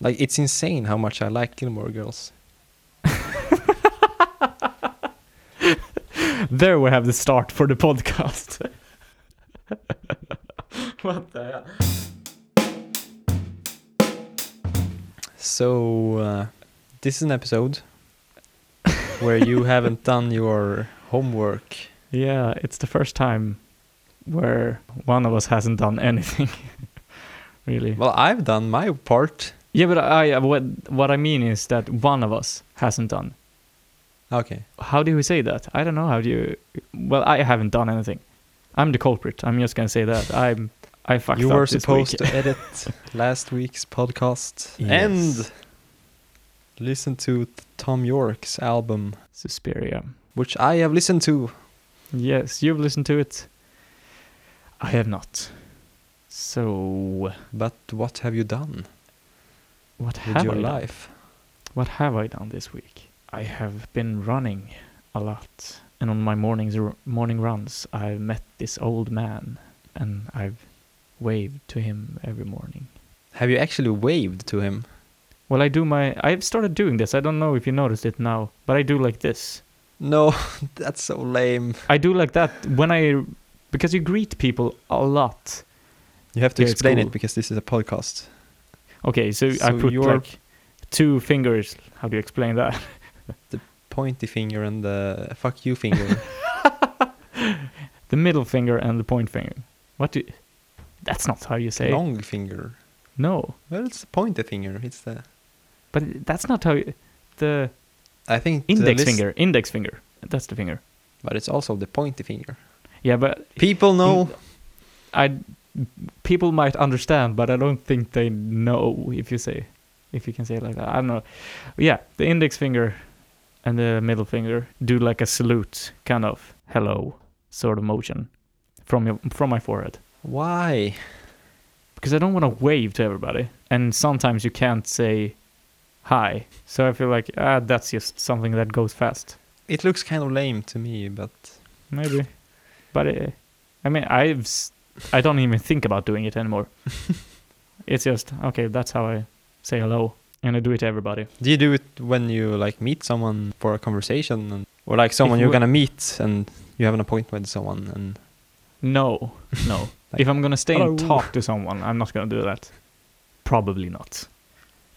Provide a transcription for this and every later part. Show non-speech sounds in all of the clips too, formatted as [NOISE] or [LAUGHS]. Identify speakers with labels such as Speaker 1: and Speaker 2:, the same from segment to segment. Speaker 1: Like it's insane how much I like Gilmore Girls.
Speaker 2: There we have the start for the podcast.
Speaker 1: [LAUGHS]
Speaker 2: what the hell?
Speaker 1: So uh, this is an episode [LAUGHS] where you haven't done your homework.
Speaker 2: Yeah, it's the first time where one of us hasn't done anything, [LAUGHS] really.
Speaker 1: Well, I've done my part.
Speaker 2: Yeah, but I I- what what I mean is that one of us hasn't done.
Speaker 1: Okay.
Speaker 2: How do we say that? I don't know how do you. Well, I haven't done anything. I'm the culprit. I'm just gonna say that I'm I fucked
Speaker 1: you
Speaker 2: up
Speaker 1: were
Speaker 2: this
Speaker 1: supposed
Speaker 2: week.
Speaker 1: to edit last week's podcast
Speaker 2: Yes.
Speaker 1: and listen to th- Tom York's album,
Speaker 2: [LAUGHS] Suspiria.
Speaker 1: which I have listened to.
Speaker 2: Yes, you've listened to it. I have not. So
Speaker 1: But what have you done
Speaker 2: what
Speaker 1: with
Speaker 2: have
Speaker 1: your
Speaker 2: I done?
Speaker 1: life?
Speaker 2: What have I done this week? I have been running a lot, and on my mornings r- morning runs, I've met this old man, and I've waved to him every morning.
Speaker 1: Have you actually waved to him?
Speaker 2: Well, I do my. I've started doing this. I don't know if you noticed it now, but I do like this.
Speaker 1: No, [LAUGHS] that's so lame.
Speaker 2: I do like that when I, because you greet people a lot.
Speaker 1: You have to
Speaker 2: Yeah, it's
Speaker 1: explain
Speaker 2: cool.
Speaker 1: it because this is a podcast.
Speaker 2: Okay, so, I
Speaker 1: So
Speaker 2: put
Speaker 1: you're-
Speaker 2: like two fingers. How do you explain that? [LAUGHS]
Speaker 1: Pointy finger and the fuck you
Speaker 2: [LAUGHS]
Speaker 1: finger.
Speaker 2: The middle finger and the point finger. What do? That's not how you say. it.
Speaker 1: Long finger.
Speaker 2: No,
Speaker 1: Well, it's the pointy finger. It's the.
Speaker 2: but that's not how. You, the
Speaker 1: I think the
Speaker 2: index
Speaker 1: list-
Speaker 2: finger. Index finger. That's the finger.
Speaker 1: but it's also the pointy finger.
Speaker 2: Yeah, but
Speaker 1: People know.
Speaker 2: I people might understand, but I don't think they know if you say if you can say it like that. I don't know. Yeah, the index finger and the middle finger do like a salute kind of hello sort of motion from your, from my forehead
Speaker 1: Why?
Speaker 2: because I don't want to wave to everybody. And sometimes you can't say hi, so I feel like ah, that's just something that goes fast.
Speaker 1: It looks kind of lame to me, but
Speaker 2: Maybe, but uh, I mean, I've s- I don't even think about doing
Speaker 1: [LAUGHS]
Speaker 2: it anymore. it's just okay. That's how I say hello, and I do it to everybody.
Speaker 1: do you do it when you like meet someone for a conversation, and, or like someone
Speaker 2: you
Speaker 1: you're
Speaker 2: were-
Speaker 1: gonna meet and you have an appointment with someone, and
Speaker 2: No, no.
Speaker 1: [LAUGHS] Like,
Speaker 2: if I'm gonna stay and
Speaker 1: "Hello."
Speaker 2: talk to someone, I'm not gonna do that. Probably not.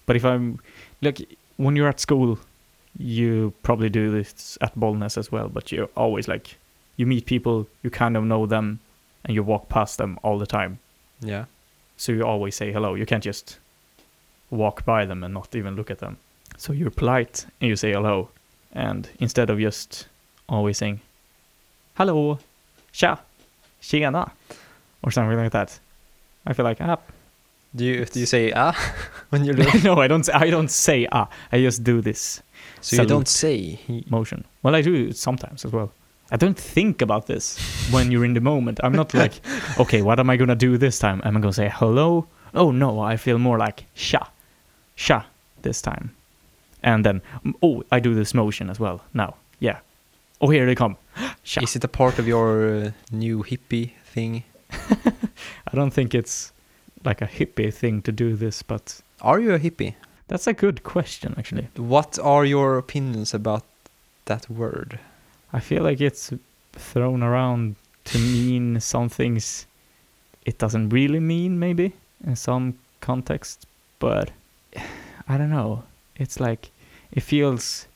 Speaker 2: But if I'm like when you're at school, you probably do this at Bollnäs as well. But you're always like you meet people, you kind of know them, and you walk past them all the time.
Speaker 1: yeah,
Speaker 2: So you always say hello. You can't just walk by them and not even look at them. So you're polite and you say hello. And instead of just always saying, hello, tja, tjena, or something like that, I feel like, ah. [LAUGHS]
Speaker 1: do you do you say ah [LAUGHS] when you're doing?
Speaker 2: no, I don't, I don't say ah. I just do this
Speaker 1: so you don't say.
Speaker 2: motion. Well, I do it sometimes as well. I don't think about this when you're in the moment. I'm not like, okay, what am I gonna do this time? Am I gonna say hello? Oh no, I feel more like sha, sha this time. And then, mm, oh, I do this motion as well now. Yeah. Oh, here they come. [GASPS] Sha.
Speaker 1: Is it a part of your uh, new hippie thing?
Speaker 2: I don't think it's like a hippie thing to do this, but
Speaker 1: Are you a hippie?
Speaker 2: that's a good question actually.
Speaker 1: What are your opinions about that word?
Speaker 2: I feel like it's thrown around to mean some things it doesn't really mean, maybe in some context, but [SIGHS] I don't know. It's like it feels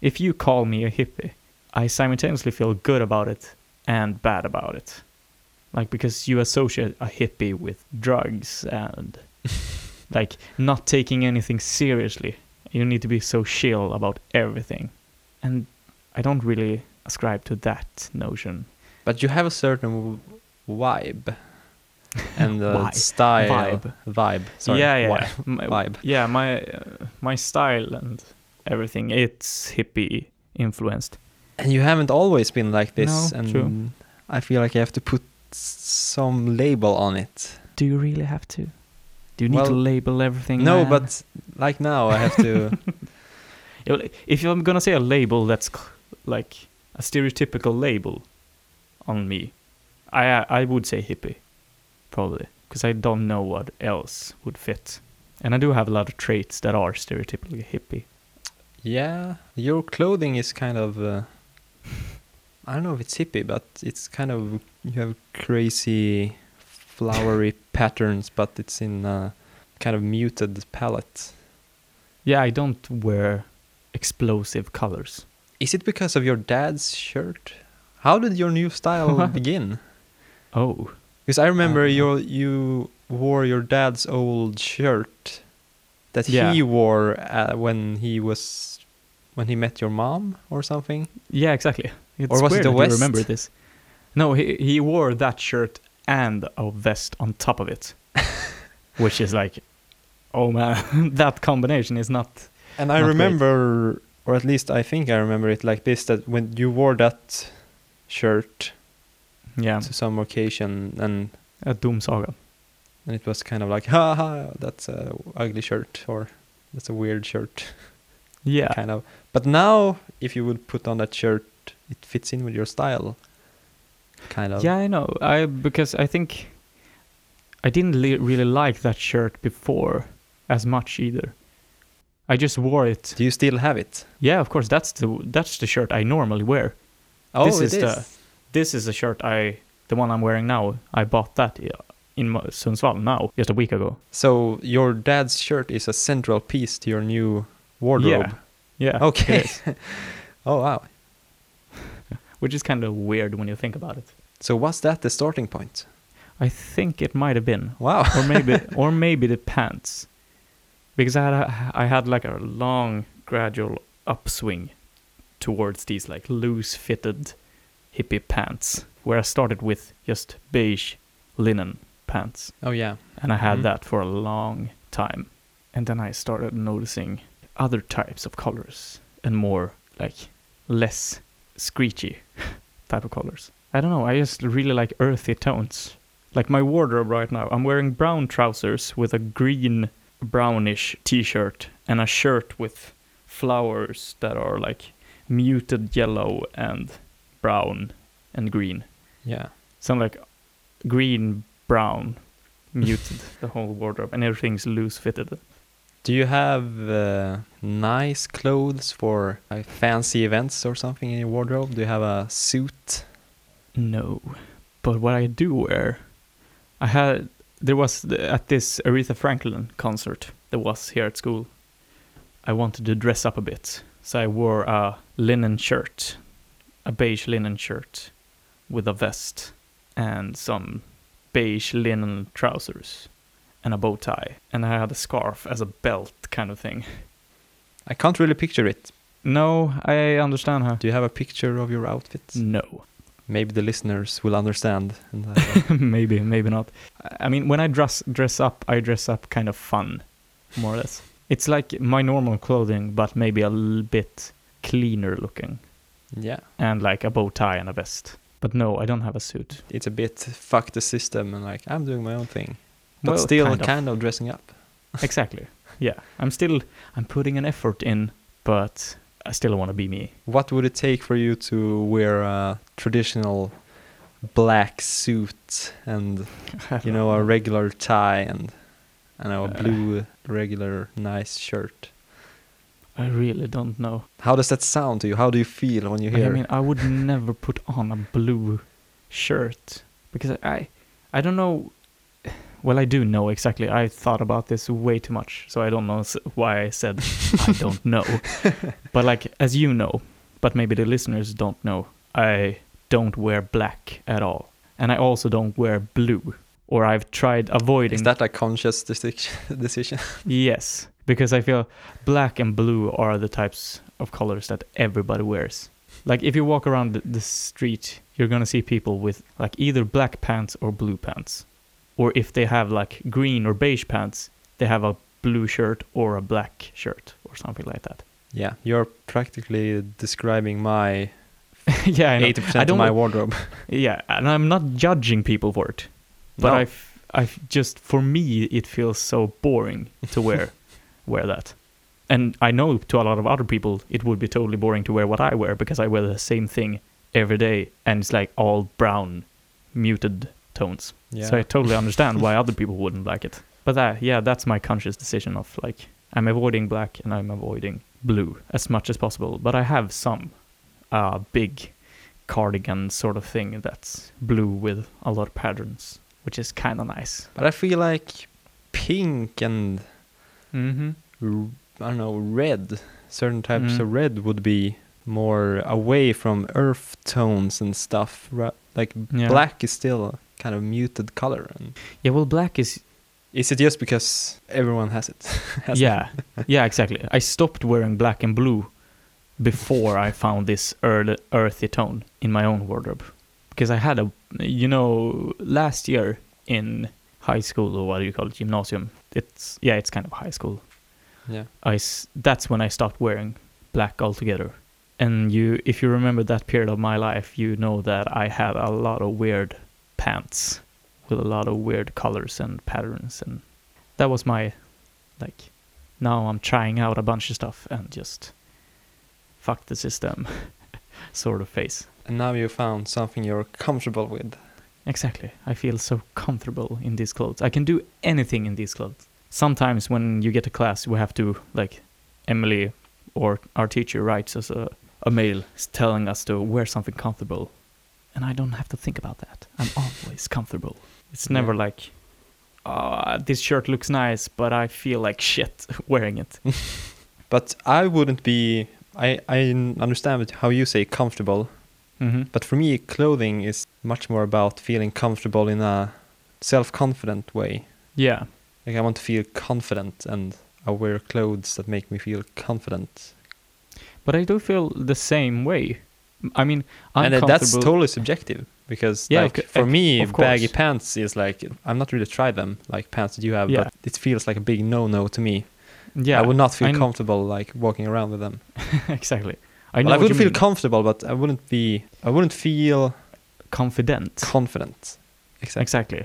Speaker 2: if you call me a hippie, I simultaneously feel good about it and bad about it. Like because you associate a hippie with drugs and like not taking anything seriously. You need to be so chill about everything. And I don't really ascribe to that notion.
Speaker 1: But you have a certain w-
Speaker 2: [LAUGHS]
Speaker 1: vibe and uh,
Speaker 2: Why?
Speaker 1: style.
Speaker 2: Vibe.
Speaker 1: Vibe. Sorry.
Speaker 2: yeah, yeah,
Speaker 1: Why?
Speaker 2: yeah. [LAUGHS] My,
Speaker 1: Vibe.
Speaker 2: Yeah, my uh, my style and everything. It's hippie influenced.
Speaker 1: And you haven't always been like this,
Speaker 2: No,
Speaker 1: and
Speaker 2: true.
Speaker 1: I feel like I have to put s- some label on it.
Speaker 2: Do you really have to? Do you need to
Speaker 1: Well,
Speaker 2: label everything?
Speaker 1: No,
Speaker 2: man?
Speaker 1: but like now I have
Speaker 2: [LAUGHS]
Speaker 1: to.
Speaker 2: Yeah, well, if I'm gonna say a label that's c- like a stereotypical label on me, I I would say hippie, probably, because I don't know what else would fit. And I do have a lot of traits that are stereotypically hippie.
Speaker 1: Yeah, your clothing is kind of. Uh, I don't know if it's hippie, but it's kind of you have crazy, flowery [LAUGHS] patterns, but it's in a kind of muted palette.
Speaker 2: Yeah, I don't wear explosive colors.
Speaker 1: Is it because of your dad's shirt? How did your new style begin?
Speaker 2: Oh,
Speaker 1: Because I remember
Speaker 2: don't know.
Speaker 1: your you wore your dad's old shirt that he
Speaker 2: Yeah.
Speaker 1: wore uh, when he was when he met your mom or something.
Speaker 2: yeah, exactly. It's
Speaker 1: was it
Speaker 2: weird
Speaker 1: the
Speaker 2: that you remember
Speaker 1: vest?
Speaker 2: this. No, he he wore that shirt and a vest on top of
Speaker 1: [LAUGHS]
Speaker 2: it, which is like, oh man, [LAUGHS] that combination is not.
Speaker 1: And I
Speaker 2: Not great.
Speaker 1: remember, or at least I think I remember it like this: that when you wore that shirt
Speaker 2: Yeah,
Speaker 1: to some occasion, and
Speaker 2: a doom saga.
Speaker 1: and it was kind of like, ha ha, that's a ugly shirt, or that's a weird shirt,
Speaker 2: Yeah,
Speaker 1: kind of. But now, if you would put on that shirt, it fits in with your style, kind of.
Speaker 2: Yeah, I know. I because I think I didn't li- really like that shirt before as much either. I just wore it.
Speaker 1: Do you still have it?
Speaker 2: Yeah, of course. That's the that's the shirt I normally wear.
Speaker 1: Oh,
Speaker 2: This
Speaker 1: it
Speaker 2: is the- This is the shirt I the one I'm wearing now. I bought that i- in Mo- Sundsvall now just a week ago.
Speaker 1: So your dad's shirt is a central piece to your new wardrobe.
Speaker 2: Yeah.
Speaker 1: Okay.
Speaker 2: it is,
Speaker 1: [LAUGHS] oh wow.
Speaker 2: which is kind of weird when you think about it.
Speaker 1: So was that the starting point?
Speaker 2: I think it might have been
Speaker 1: Wow.
Speaker 2: [LAUGHS] or maybe or maybe the pants because i had a, i had like a long gradual upswing towards these like loose fitted hippie pants where i started with just beige linen pants
Speaker 1: Oh yeah.
Speaker 2: and i had
Speaker 1: Mhm.
Speaker 2: that for a long time and then i started noticing other types of colors and more like less screechy [LAUGHS] type of colors i don't know i just really like earthy tones like my wardrobe right now i'm wearing brown trousers with a green brownish t-shirt and a shirt with flowers that are like muted yellow and brown and green
Speaker 1: Yeah.
Speaker 2: so I'm like green brown muted [LAUGHS] the whole wardrobe and everything's loose fitted
Speaker 1: Do you have uh, nice clothes for like, fancy events or something in your wardrobe? Do you have a suit?
Speaker 2: No, but what I do wear, I had there was the- at this Aretha Franklin concert that was here at school. I wanted to dress up a bit, so I wore a linen shirt, a beige linen shirt, with a vest and some beige linen trousers and a bow tie, and I had a scarf as a belt kind of thing.
Speaker 1: I can't really picture it.
Speaker 2: No, I understand her.
Speaker 1: Do you have a picture of your outfit?
Speaker 2: No.
Speaker 1: Maybe the listeners will understand. And uh, have
Speaker 2: [LAUGHS] maybe, maybe not. I- I mean, when I dress dress up, I dress up kind of fun, more or less. It's like my normal clothing, but maybe a little bit cleaner looking,
Speaker 1: a- yeah.
Speaker 2: and like a bow tie and a vest. But no, I don't have a suit.
Speaker 1: It's a bit fuck the system and like I'm doing my own thing, but
Speaker 2: Well,
Speaker 1: still
Speaker 2: kind of.
Speaker 1: [LAUGHS] dressing up.
Speaker 2: exactly. Yeah, I'm still I'm putting an effort in, but I still want to be me.
Speaker 1: What would it take for you to wear a traditional black suit and you
Speaker 2: [LAUGHS]
Speaker 1: know a regular tie and I know a
Speaker 2: Uh.
Speaker 1: blue regular nice shirt?
Speaker 2: I really don't know.
Speaker 1: How does that sound to you? How do you feel when you
Speaker 2: Like,
Speaker 1: hear?
Speaker 2: I mean, I would never put on a blue shirt because I, I don't know. Well, I do know exactly. I thought about this way too much, so I don't know s- why I said
Speaker 1: [LAUGHS]
Speaker 2: I don't know. But like, as you know, but maybe the listeners don't know, I don't wear black at all, and I also don't wear blue. Or I've tried avoiding.
Speaker 1: Is that a conscious deci- [LAUGHS] decision?
Speaker 2: Yes, because I feel black and blue are the types of colors that everybody wears. Like if you walk around the, the street, you're gonna see people with like either black pants or blue pants, or if they have like green or beige pants, they have a blue shirt or a black shirt or something like that. [LAUGHS]
Speaker 1: Yeah, you're practically describing my
Speaker 2: yeah, I know.
Speaker 1: eighty
Speaker 2: I
Speaker 1: percent of
Speaker 2: don't
Speaker 1: my
Speaker 2: wa-
Speaker 1: wardrobe.
Speaker 2: Yeah, and I'm not judging people for it, [LAUGHS]
Speaker 1: [LAUGHS]
Speaker 2: but
Speaker 1: No.
Speaker 2: I, f- I f- just for me it feels so boring to wear wear that, and I know to a lot of other people it would be totally boring to wear what I wear because I wear the same thing every day and it's like all brown, muted tones.
Speaker 1: yeah.
Speaker 2: So I totally understand why other people wouldn't like it. But that, yeah, that's my conscious decision of like I'm avoiding black and I'm avoiding blue as much as possible. But I have some uh, big cardigan sort of thing that's blue with a lot of patterns, which is kind of nice.
Speaker 1: But I feel like pink and
Speaker 2: Mm-hmm.
Speaker 1: r- I don't know red, certain types
Speaker 2: Mm.
Speaker 1: of red would be more away from earth tones and stuff. ra- Like
Speaker 2: Yeah.
Speaker 1: black is still a kind of muted color. And
Speaker 2: Yeah, well, black is
Speaker 1: is it just because everyone has it? [LAUGHS] has it?
Speaker 2: yeah, yeah, exactly. I stopped wearing black and blue before I found this earl- earthy tone in my own wardrobe because I had a, you know, last year in high school or what do you call it, gymnasium. It's yeah, it's kind of high school.
Speaker 1: yeah.
Speaker 2: I s- that's when I stopped wearing black altogether. And you, if you remember that period of my life, you know that I had a lot of weird pants with a lot of weird colors and patterns, and that was my like. Now I'm trying out a bunch of stuff and just fuck the system, [LAUGHS] sort of face.
Speaker 1: And now you found something you're comfortable with.
Speaker 2: Exactly. I feel so comfortable in these clothes. I can do anything in these clothes. Sometimes when you get a class, we have to, like, Emily or our teacher writes us a, a mail s- telling us to wear something comfortable. And I don't have to think about that. I'm
Speaker 1: [LAUGHS]
Speaker 2: always comfortable. It's
Speaker 1: Yeah.
Speaker 2: never like, oh, this shirt looks nice, but I feel like [LAUGHS] shit
Speaker 1: [LAUGHS]
Speaker 2: wearing it.
Speaker 1: But I wouldn't be. I I n- understand what- how you say comfortable,
Speaker 2: mm-hmm.
Speaker 1: but for me, clothing is much more about feeling comfortable in a self-confident way.
Speaker 2: Yeah.
Speaker 1: Like I want to feel confident, and I wear clothes that make me feel confident.
Speaker 2: But I do feel the same way. I mean, I'm
Speaker 1: and uh, that's
Speaker 2: comfortable.
Speaker 1: totally subjective because
Speaker 2: Yeah,
Speaker 1: like
Speaker 2: of c-
Speaker 1: for
Speaker 2: of-
Speaker 1: me,
Speaker 2: of
Speaker 1: baggy
Speaker 2: course.
Speaker 1: pants is like I'm not really tried them like pants that you have,
Speaker 2: Yeah.
Speaker 1: but it feels like a big no-no to me.
Speaker 2: yeah,
Speaker 1: I would not feel
Speaker 2: I kn-
Speaker 1: comfortable like walking around with them.
Speaker 2: [LAUGHS] exactly.
Speaker 1: I,
Speaker 2: I know
Speaker 1: I
Speaker 2: what you
Speaker 1: wouldn't feel
Speaker 2: mean.
Speaker 1: comfortable, but I wouldn't be. I wouldn't feel
Speaker 2: confident.
Speaker 1: confident. Exactly.
Speaker 2: Exactly.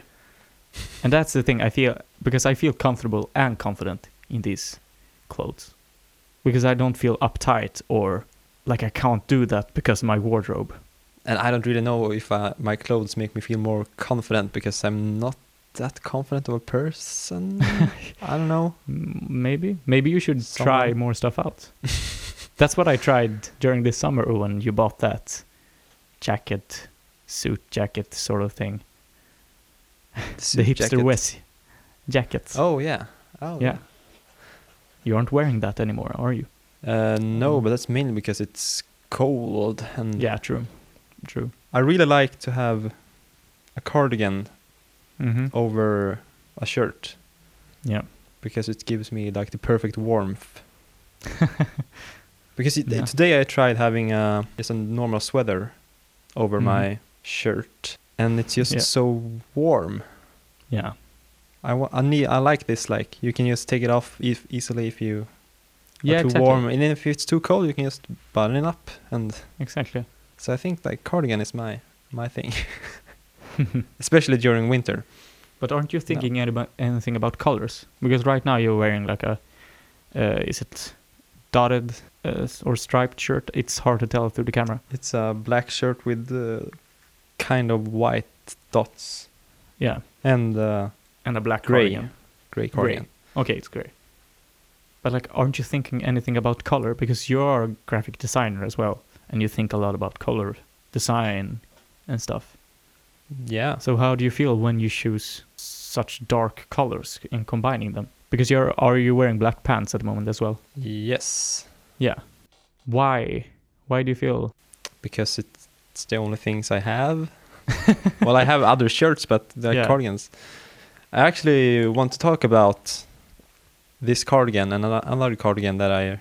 Speaker 2: And that's the thing I feel because I feel comfortable and confident in these clothes. Because I don't feel uptight or like I can't do that because of my wardrobe.
Speaker 1: And I don't really know if uh, my clothes make me feel more confident because I'm not that confident of a
Speaker 2: [LAUGHS]
Speaker 1: person. I don't know.
Speaker 2: M- Maybe. Maybe you should try
Speaker 1: Someone-
Speaker 2: more stuff
Speaker 1: [LAUGHS]
Speaker 2: out. that's what I tried during this summer when you bought that jacket, suit jacket sort of thing.
Speaker 1: Suit
Speaker 2: the hipster
Speaker 1: jacket.
Speaker 2: West jackets.
Speaker 1: Oh yeah. Oh
Speaker 2: yeah. You aren't wearing that anymore, are you?
Speaker 1: Uh, no, but that's mainly because it's cold and
Speaker 2: Mm. Yeah, true. True.
Speaker 1: I really like to have a cardigan
Speaker 2: Mm-hmm.
Speaker 1: Oh. over a shirt
Speaker 2: Yeah.
Speaker 1: because it gives me like the perfect
Speaker 2: [LAUGHS]
Speaker 1: warmth. because it,
Speaker 2: Yeah.
Speaker 1: today I tried having a just a normal sweater over
Speaker 2: Mhm.
Speaker 1: my shirt, and it's just
Speaker 2: Yeah.
Speaker 1: so warm.
Speaker 2: Yeah.
Speaker 1: I, wa- I need I like this like you can just take it off if, easily if you are
Speaker 2: Yeah,
Speaker 1: too
Speaker 2: exactly.
Speaker 1: warm, and then if it's too cold you can just button it up. And
Speaker 2: Exactly.
Speaker 1: so I think like cardigan is my my
Speaker 2: [LAUGHS]
Speaker 1: thing, [LAUGHS] especially during winter.
Speaker 2: But aren't you thinking any about anything about colors? Because right now you're wearing like a, uh, is it dotted uh, s- or striped shirt? It's hard to tell through the camera.
Speaker 1: It's a black shirt with uh, kind of white dots
Speaker 2: Yeah,
Speaker 1: and uh,
Speaker 2: and a black
Speaker 1: Grey.
Speaker 2: cardigan.
Speaker 1: gray
Speaker 2: Grey.
Speaker 1: cardigan.
Speaker 2: Okay, it's gray. But like, aren't you thinking anything about color? Because you're a graphic designer as well, and you think a lot about color design and stuff.
Speaker 1: Yeah.
Speaker 2: So how do you feel when you choose such dark colors in combining them? Because you're are you wearing black pants at the moment as well?
Speaker 1: Yes,
Speaker 2: Yeah. Why? Why do you feel?
Speaker 1: because it's it's the only things I
Speaker 2: [LAUGHS]
Speaker 1: have. well, I have other shirts, but they're
Speaker 2: Yeah.
Speaker 1: cardigans. I actually want to talk about this cardigan and ano- another cardigan that I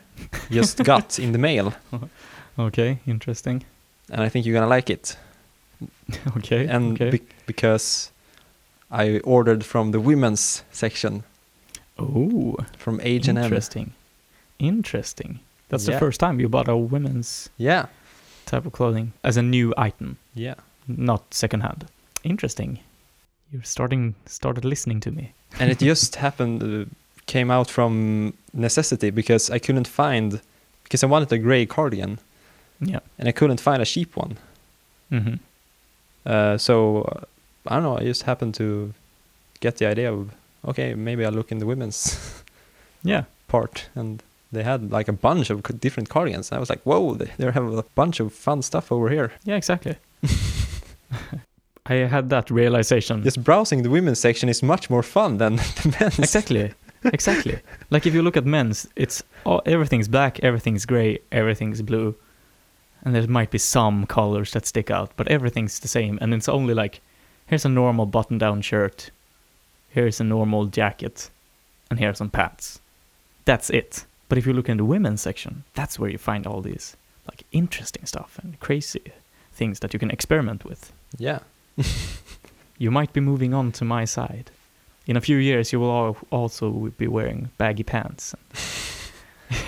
Speaker 1: just
Speaker 2: [LAUGHS]
Speaker 1: got in the mail,
Speaker 2: Okay, interesting. [LAUGHS]
Speaker 1: and I think you're gonna like it.
Speaker 2: Okay.
Speaker 1: And
Speaker 2: okay.
Speaker 1: be- because I ordered from the women's section
Speaker 2: oh,
Speaker 1: from H and M.
Speaker 2: interesting. Interesting. That's
Speaker 1: Yeah.
Speaker 2: the first time you bought a women's
Speaker 1: Yeah,
Speaker 2: type of clothing as a new item,
Speaker 1: yeah.
Speaker 2: not secondhand. Interesting. You're starting started listening to me.
Speaker 1: and it just happened uh, came out from necessity because I couldn't find because I wanted a gray cardigan
Speaker 2: Yeah.
Speaker 1: and I couldn't find a cheap one.
Speaker 2: Mm-hmm.
Speaker 1: Uh, so uh, I don't know. I just happened to get the idea of okay, maybe I look in the women's [LAUGHS]
Speaker 2: Yeah.
Speaker 1: part, and they had like a bunch of c- different cardigans. And I was like, whoa, they, they have a bunch of fun stuff over here.
Speaker 2: Yeah,
Speaker 1: [LAUGHS]
Speaker 2: exactly. [LAUGHS] I had that realization.
Speaker 1: Just browsing the women's section is much more fun than [LAUGHS] the men's.
Speaker 2: [LAUGHS] Exactly. Exactly. like if you look at men's, it's all, everything's black, everything's gray, everything's blue. And there might be some colors that stick out, but everything's the same. And it's only like here's a normal button down shirt, here's a normal jacket, and here's some pants. That's it. But if you look in the women's section, that's where you find all these like interesting stuff and crazy things that you can experiment with
Speaker 1: Yeah.
Speaker 2: you might be moving on to my side. In a few years, you will al- also be wearing baggy pants, and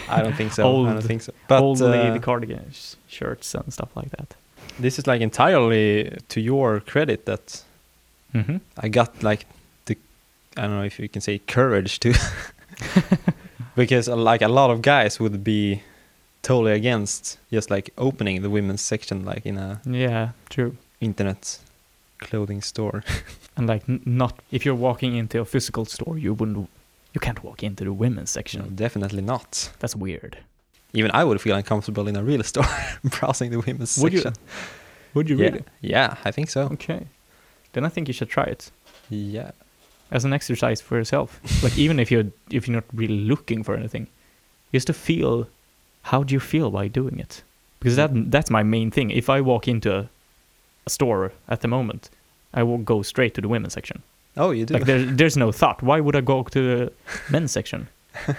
Speaker 1: I don't think so. I
Speaker 2: Old-
Speaker 1: don't think so. But
Speaker 2: old lady
Speaker 1: uh,
Speaker 2: cardigan sh- shirts and stuff like that.
Speaker 1: this is like entirely to your credit that
Speaker 2: hmm
Speaker 1: I got like the I don't know if you can say courage to [LAUGHS] because uh, like a lot of guys would be totally against just like opening the women's section like in a
Speaker 2: Yeah, true.
Speaker 1: internet clothing store. [LAUGHS]
Speaker 2: And like, n- not if you're walking into a physical store, you wouldn't, you can't walk into the women's
Speaker 1: You know,
Speaker 2: section.
Speaker 1: definitely not.
Speaker 2: That's weird.
Speaker 1: Even I would feel uncomfortable in a real [LAUGHS] store browsing the women's
Speaker 2: Would you?
Speaker 1: section.
Speaker 2: Would you
Speaker 1: yeah.
Speaker 2: really?
Speaker 1: yeah, I think so.
Speaker 2: Okay. Then I think you should try it
Speaker 1: Yeah.
Speaker 2: as an exercise for yourself. like, even if you're if you're not really looking for anything, just to feel how do you feel while doing it because that that's my main thing if i walk into a, a store at the moment i will go straight to the women's section
Speaker 1: Oh, you do.
Speaker 2: like there, there's no thought why would i go
Speaker 1: [LAUGHS]
Speaker 2: to the men's section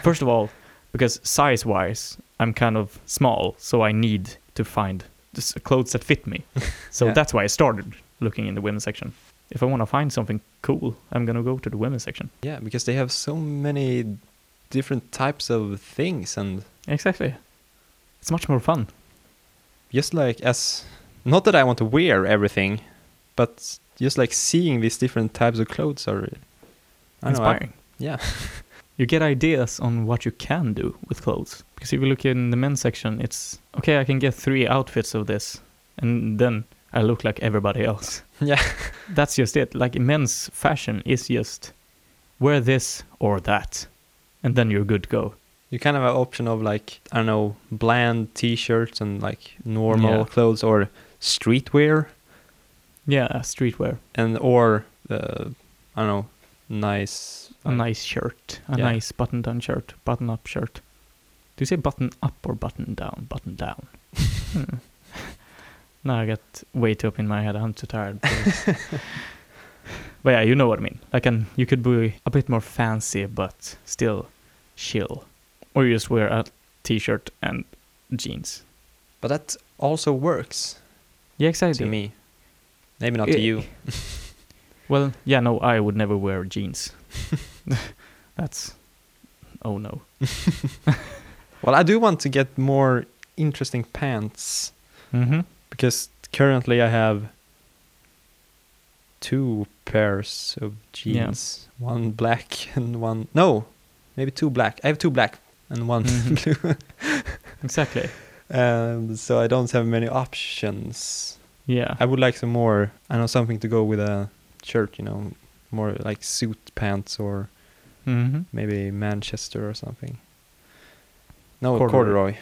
Speaker 2: first of all because size wise i'm kind of small so i need to find just clothes that fit
Speaker 1: [LAUGHS]
Speaker 2: me so
Speaker 1: Yeah.
Speaker 2: that's why i started looking in the women's section if i want to find something cool i'm going to go to the women's section
Speaker 1: yeah, because they have so many different types of things and
Speaker 2: exactly it's much more fun
Speaker 1: just like as not that I want to wear everything, but just like seeing these different types of clothes are I don't know, I-
Speaker 2: inspiring
Speaker 1: [LAUGHS] yeah,
Speaker 2: you get ideas on what you can do with clothes. Because if you look in the men's section, it's okay, I can get three outfits of this, and then I look like everybody else.
Speaker 1: Yeah.
Speaker 2: That's just it. Like men's fashion is just wear this or that, and then you're good to go.
Speaker 1: you kind of have option of like I don't know bland T-shirts and like normal
Speaker 2: Yeah.
Speaker 1: clothes or streetwear
Speaker 2: Yeah, streetwear,
Speaker 1: and or uh, I don't know nice
Speaker 2: a
Speaker 1: uh,
Speaker 2: nice shirt, a
Speaker 1: Yeah.
Speaker 2: nice button down shirt, button up shirt. Do you say button up or button down? Button down. hmm. [LAUGHS] Now I got way too up in my head. I'm too [LAUGHS] tired. for this. but yeah, you know what I mean. Like, an, you could be a bit more fancy, but still chill. Or you just wear a t-shirt and jeans.
Speaker 1: but that also works
Speaker 2: Yeah,
Speaker 1: to
Speaker 2: exactly.
Speaker 1: me. Maybe not to
Speaker 2: Eh.
Speaker 1: you.
Speaker 2: [LAUGHS] Well, yeah, no, I would never
Speaker 1: [LAUGHS]
Speaker 2: wear jeans. That's, oh no.
Speaker 1: Well, I do want to get more interesting pants.
Speaker 2: Mm-hmm.
Speaker 1: because currently I have two pairs of jeans, one black and one no, maybe two black. I have two black and one
Speaker 2: Mhm.
Speaker 1: [LAUGHS] blue,
Speaker 2: Exactly.
Speaker 1: and so I don't have many options.
Speaker 2: Yeah.
Speaker 1: I would like some more. I know something to go with a shirt, you know, more like suit pants or
Speaker 2: Mm-hmm.
Speaker 1: maybe Manchester or something. No
Speaker 2: Corduroy.
Speaker 1: corduroy.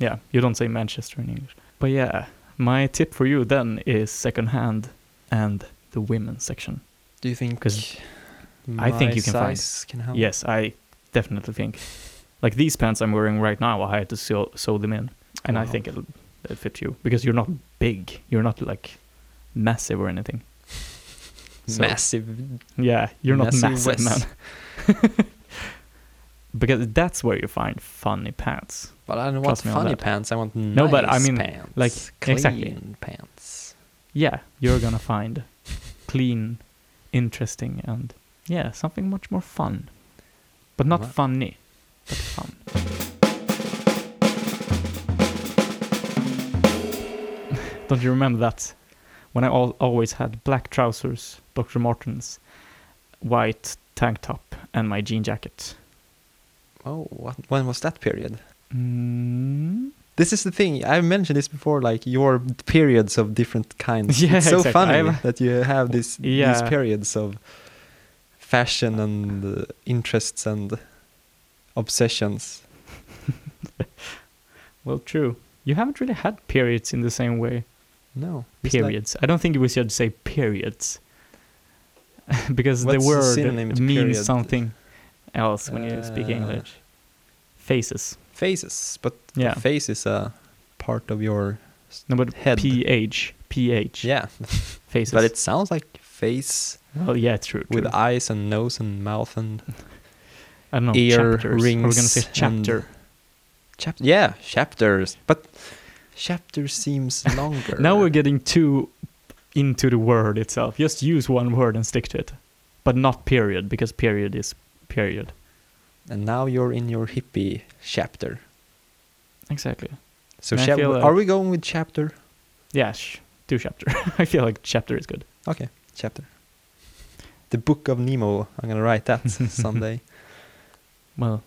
Speaker 2: Yeah, you don't say Manchester in English. But yeah, my tip for you then is secondhand and the women's section.
Speaker 1: Do you think?
Speaker 2: 'Cause I think
Speaker 1: my
Speaker 2: you can find-
Speaker 1: size can help.
Speaker 2: Yes, I definitely think. Like these pants I'm wearing right now, I had to sew, sew them in. And I
Speaker 1: Wow.
Speaker 2: think it'll, it'll fit you because you're not big. You're not like massive or anything. So-
Speaker 1: massive
Speaker 2: Yeah, you're not
Speaker 1: Massive Wes.
Speaker 2: massive, man. [LAUGHS] because that's where you find funny pants.
Speaker 1: But I don't
Speaker 2: Trust me
Speaker 1: want
Speaker 2: on
Speaker 1: funny
Speaker 2: that.
Speaker 1: pants. I want nice
Speaker 2: No, but I mean,
Speaker 1: pants,
Speaker 2: like,
Speaker 1: clean
Speaker 2: exactly.
Speaker 1: pants.
Speaker 2: yeah, you're gonna find clean, interesting, and yeah, something much more fun, but not
Speaker 1: Wow.
Speaker 2: funny, but fun. [LAUGHS] Don't you remember that? When I al- always had black trousers, Dr. Martens, white tank top, and my jean jacket.
Speaker 1: Oh, what, when was that period?
Speaker 2: Mm,
Speaker 1: This is the thing. I've mentioned this before. Like your periods of different kinds.
Speaker 2: [LAUGHS] Yeah,
Speaker 1: it's so
Speaker 2: exactly.
Speaker 1: funny
Speaker 2: [LAUGHS] I've-
Speaker 1: that you have this
Speaker 2: Yeah.
Speaker 1: these periods of fashion and uh, interests and obsessions.
Speaker 2: Well, true. You haven't really had periods in the same way.
Speaker 1: No. it's like-
Speaker 2: Periods. I don't think we should say periods. [LAUGHS] because
Speaker 1: What's
Speaker 2: the
Speaker 1: the
Speaker 2: word
Speaker 1: synonym
Speaker 2: means
Speaker 1: to period?
Speaker 2: something else when you speak
Speaker 1: Uh,
Speaker 2: English. Faces.
Speaker 1: Faces, but
Speaker 2: Yeah.
Speaker 1: the face is a part of your
Speaker 2: No, but
Speaker 1: head.
Speaker 2: PH. PH.
Speaker 1: yeah,
Speaker 2: Faces.
Speaker 1: but it sounds like face
Speaker 2: Well, yeah, true. true.
Speaker 1: with eyes and nose and mouth and
Speaker 2: I don't know.
Speaker 1: ear
Speaker 2: chapters. Are we gonna say
Speaker 1: rings and-
Speaker 2: chapter?
Speaker 1: chap. Yeah, chapters, but chapter seems
Speaker 2: [LAUGHS]
Speaker 1: longer.
Speaker 2: Now we're getting too into the word itself. Just use one word and stick to it, but not period because period is period.
Speaker 1: and now you're in your hippie chapter.
Speaker 2: Exactly.
Speaker 1: So
Speaker 2: And I
Speaker 1: shall
Speaker 2: feel
Speaker 1: we-
Speaker 2: like-
Speaker 1: are we going with chapter?
Speaker 2: Yeah. Sh- do chapter. [LAUGHS] I feel like chapter is good.
Speaker 1: Okay, chapter. The Book of Nemo. I'm gonna write
Speaker 2: [LAUGHS]
Speaker 1: that someday.
Speaker 2: Well,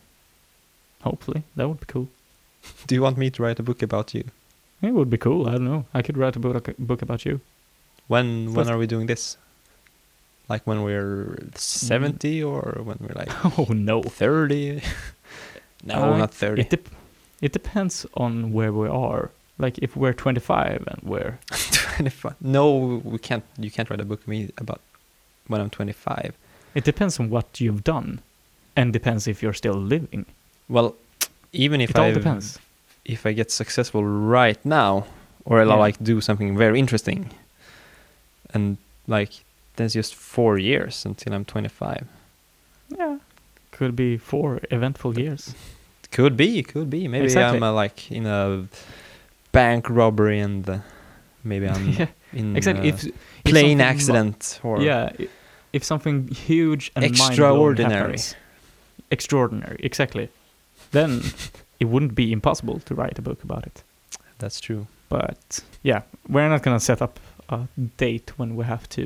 Speaker 2: hopefully that would be cool.
Speaker 1: Do you want me to write a book about you?
Speaker 2: It would be cool. I don't know. I could write a book, book about you. [LAUGHS]
Speaker 1: When when
Speaker 2: First-
Speaker 1: are we doing this? Like when we're
Speaker 2: Mm.
Speaker 1: seventy or when we're like
Speaker 2: Oh no.
Speaker 1: thirty? [LAUGHS] no,
Speaker 2: Uh,
Speaker 1: not thirty. [LAUGHS]
Speaker 2: It dep- it depends on where we are. Like if we're 25 and we're
Speaker 1: Twenty-five. No, we can't. You can't write a book me about when I'm twenty-five.
Speaker 2: It depends on what you've done, and depends if you're still living.
Speaker 1: Well, even if
Speaker 2: it all
Speaker 1: I
Speaker 2: depends.
Speaker 1: if I get successful right now, or I
Speaker 2: Yeah.
Speaker 1: like do something very interesting, and like that's just four years until I'm twenty-five.
Speaker 2: Yeah, could be four
Speaker 1: Mm.
Speaker 2: eventful years. [LAUGHS]
Speaker 1: Could be, could be. Maybe
Speaker 2: Exactly.
Speaker 1: I'm uh, like in a bank robbery and uh, maybe I'm
Speaker 2: [LAUGHS] yeah,
Speaker 1: in
Speaker 2: exactly.
Speaker 1: a
Speaker 2: If if something
Speaker 1: Mm. plane
Speaker 2: mi-
Speaker 1: accident or
Speaker 2: yeah, i- if something huge and mind-blowing
Speaker 1: Extraordinary.
Speaker 2: happens- extraordinary, exactly. Then it wouldn't be impossible to write a book about it.
Speaker 1: that's true.
Speaker 2: But yeah, we're not gonna set up a date when we have to.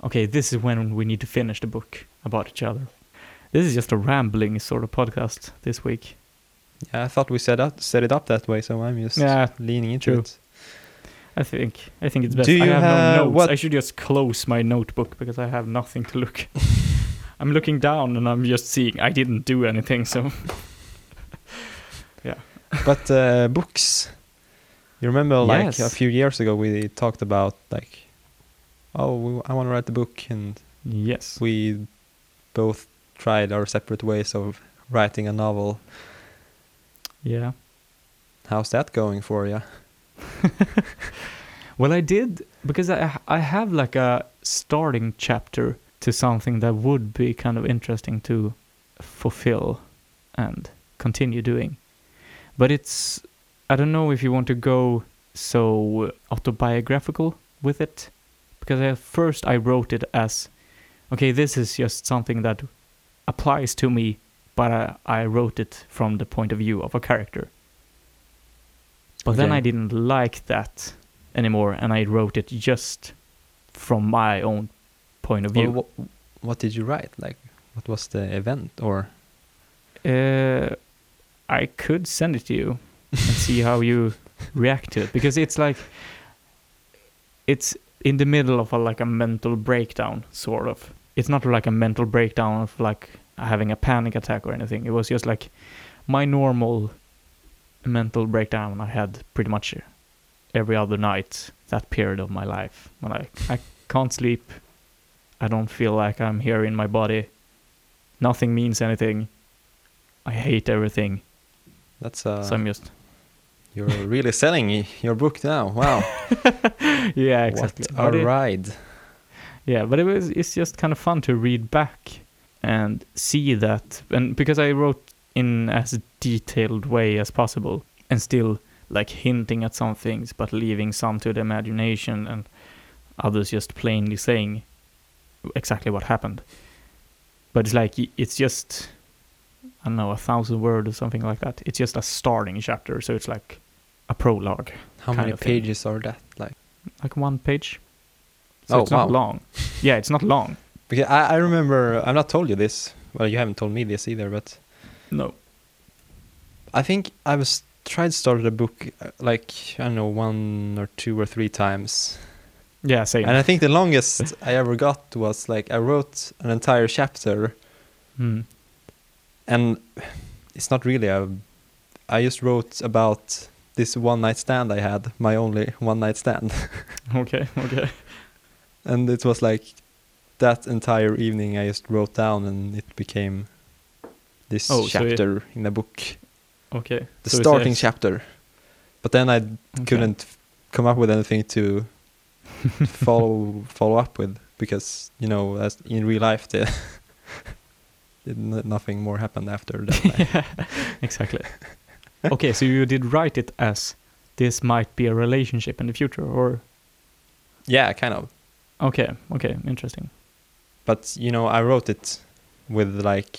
Speaker 2: Okay, this is when we need to finish the book about each other. This is just a rambling sort of podcast this week.
Speaker 1: Yeah, I thought we set up set it up that way, so I'm just
Speaker 2: Yeah,
Speaker 1: leaning into
Speaker 2: true.
Speaker 1: it.
Speaker 2: I think I think it's best.
Speaker 1: Do you
Speaker 2: I have,
Speaker 1: have-
Speaker 2: no notes.
Speaker 1: what-
Speaker 2: I should just close my notebook because I have nothing to look.
Speaker 1: [LAUGHS]
Speaker 2: I'm looking down and I'm just seeing I didn't do anything. So
Speaker 1: but uh, books, you remember like a
Speaker 2: Yes.
Speaker 1: few years ago we talked about like, oh, we, I want to write the book, and
Speaker 2: yes,
Speaker 1: we both tried our separate ways of writing a novel.
Speaker 2: yeah.
Speaker 1: How's that going for you?
Speaker 2: Well, I did because I I have like a starting chapter to something that would be kind of interesting to fulfill and continue doing, but it's I don't know if you want to go so autobiographical with it because at first I wrote it as okay this is just something that applies to me but I, I wrote it from the point of view of a character but then
Speaker 1: Okay.
Speaker 2: I didn't like that anymore and I wrote it just from my own point of view
Speaker 1: Well, wha- what did you write? Like, what was the event? Or
Speaker 2: Uh, I could send it to you and see how you react to it because it's like it's in the middle of a, like a mental breakdown sort of. It's not like a mental breakdown of like having a panic attack or anything. It was just like my normal mental breakdown I had pretty much every other night that period of my life when I I can't sleep. I don't feel like I'm here in my body. Nothing means anything. I hate everything.
Speaker 1: that's uh,
Speaker 2: so I'm just
Speaker 1: you're really selling y- your book now. Wow,
Speaker 2: [LAUGHS] yeah, [LAUGHS] exactly.
Speaker 1: what
Speaker 2: But
Speaker 1: a
Speaker 2: it-
Speaker 1: ride!
Speaker 2: yeah, but it was it's just kind of fun to read back and see that, and because I wrote in as detailed way as possible, and still like hinting at some things, but leaving some to the imagination, and others just plainly saying exactly what happened. But it's like y- it's just I don't know a thousand words or something like that. It's just a starting chapter, so it's like a prologue.
Speaker 1: How
Speaker 2: kind
Speaker 1: many
Speaker 2: of thing.
Speaker 1: pages are that? Like,
Speaker 2: like one page. So
Speaker 1: Oh,
Speaker 2: it's not
Speaker 1: wow.
Speaker 2: long. Yeah, it's not long.
Speaker 1: [LAUGHS] because I, I remember I've not told you this. Well, you haven't told me this either, but
Speaker 2: No.
Speaker 1: I think I was tried to start a book uh, like I don't know one or two or three times,
Speaker 2: Yeah, same.
Speaker 1: And I think the longest I ever got was like I wrote an entire chapter,
Speaker 2: Mm.
Speaker 1: and it's not really a. I just wrote about this one night stand I had, my only one night stand, [LAUGHS]
Speaker 2: Okay, [LAUGHS] okay.
Speaker 1: and it was like that entire evening I just wrote down, and it became this
Speaker 2: Oh, so it-
Speaker 1: chapter in a book,
Speaker 2: Okay.
Speaker 1: the
Speaker 2: So it's
Speaker 1: starting
Speaker 2: ex-
Speaker 1: chapter. But then I
Speaker 2: okay. [LAUGHS]
Speaker 1: [LAUGHS] couldn't f- come up with anything to follow follow up with because you know as in real life the [LAUGHS] it, n- nothing more happened after that
Speaker 2: [LAUGHS]
Speaker 1: night.
Speaker 2: yeah, exactly. okay, so you did write it as this might be a relationship in the future, or
Speaker 1: yeah kind of
Speaker 2: okay, okay, interesting.
Speaker 1: but you know i wrote it with like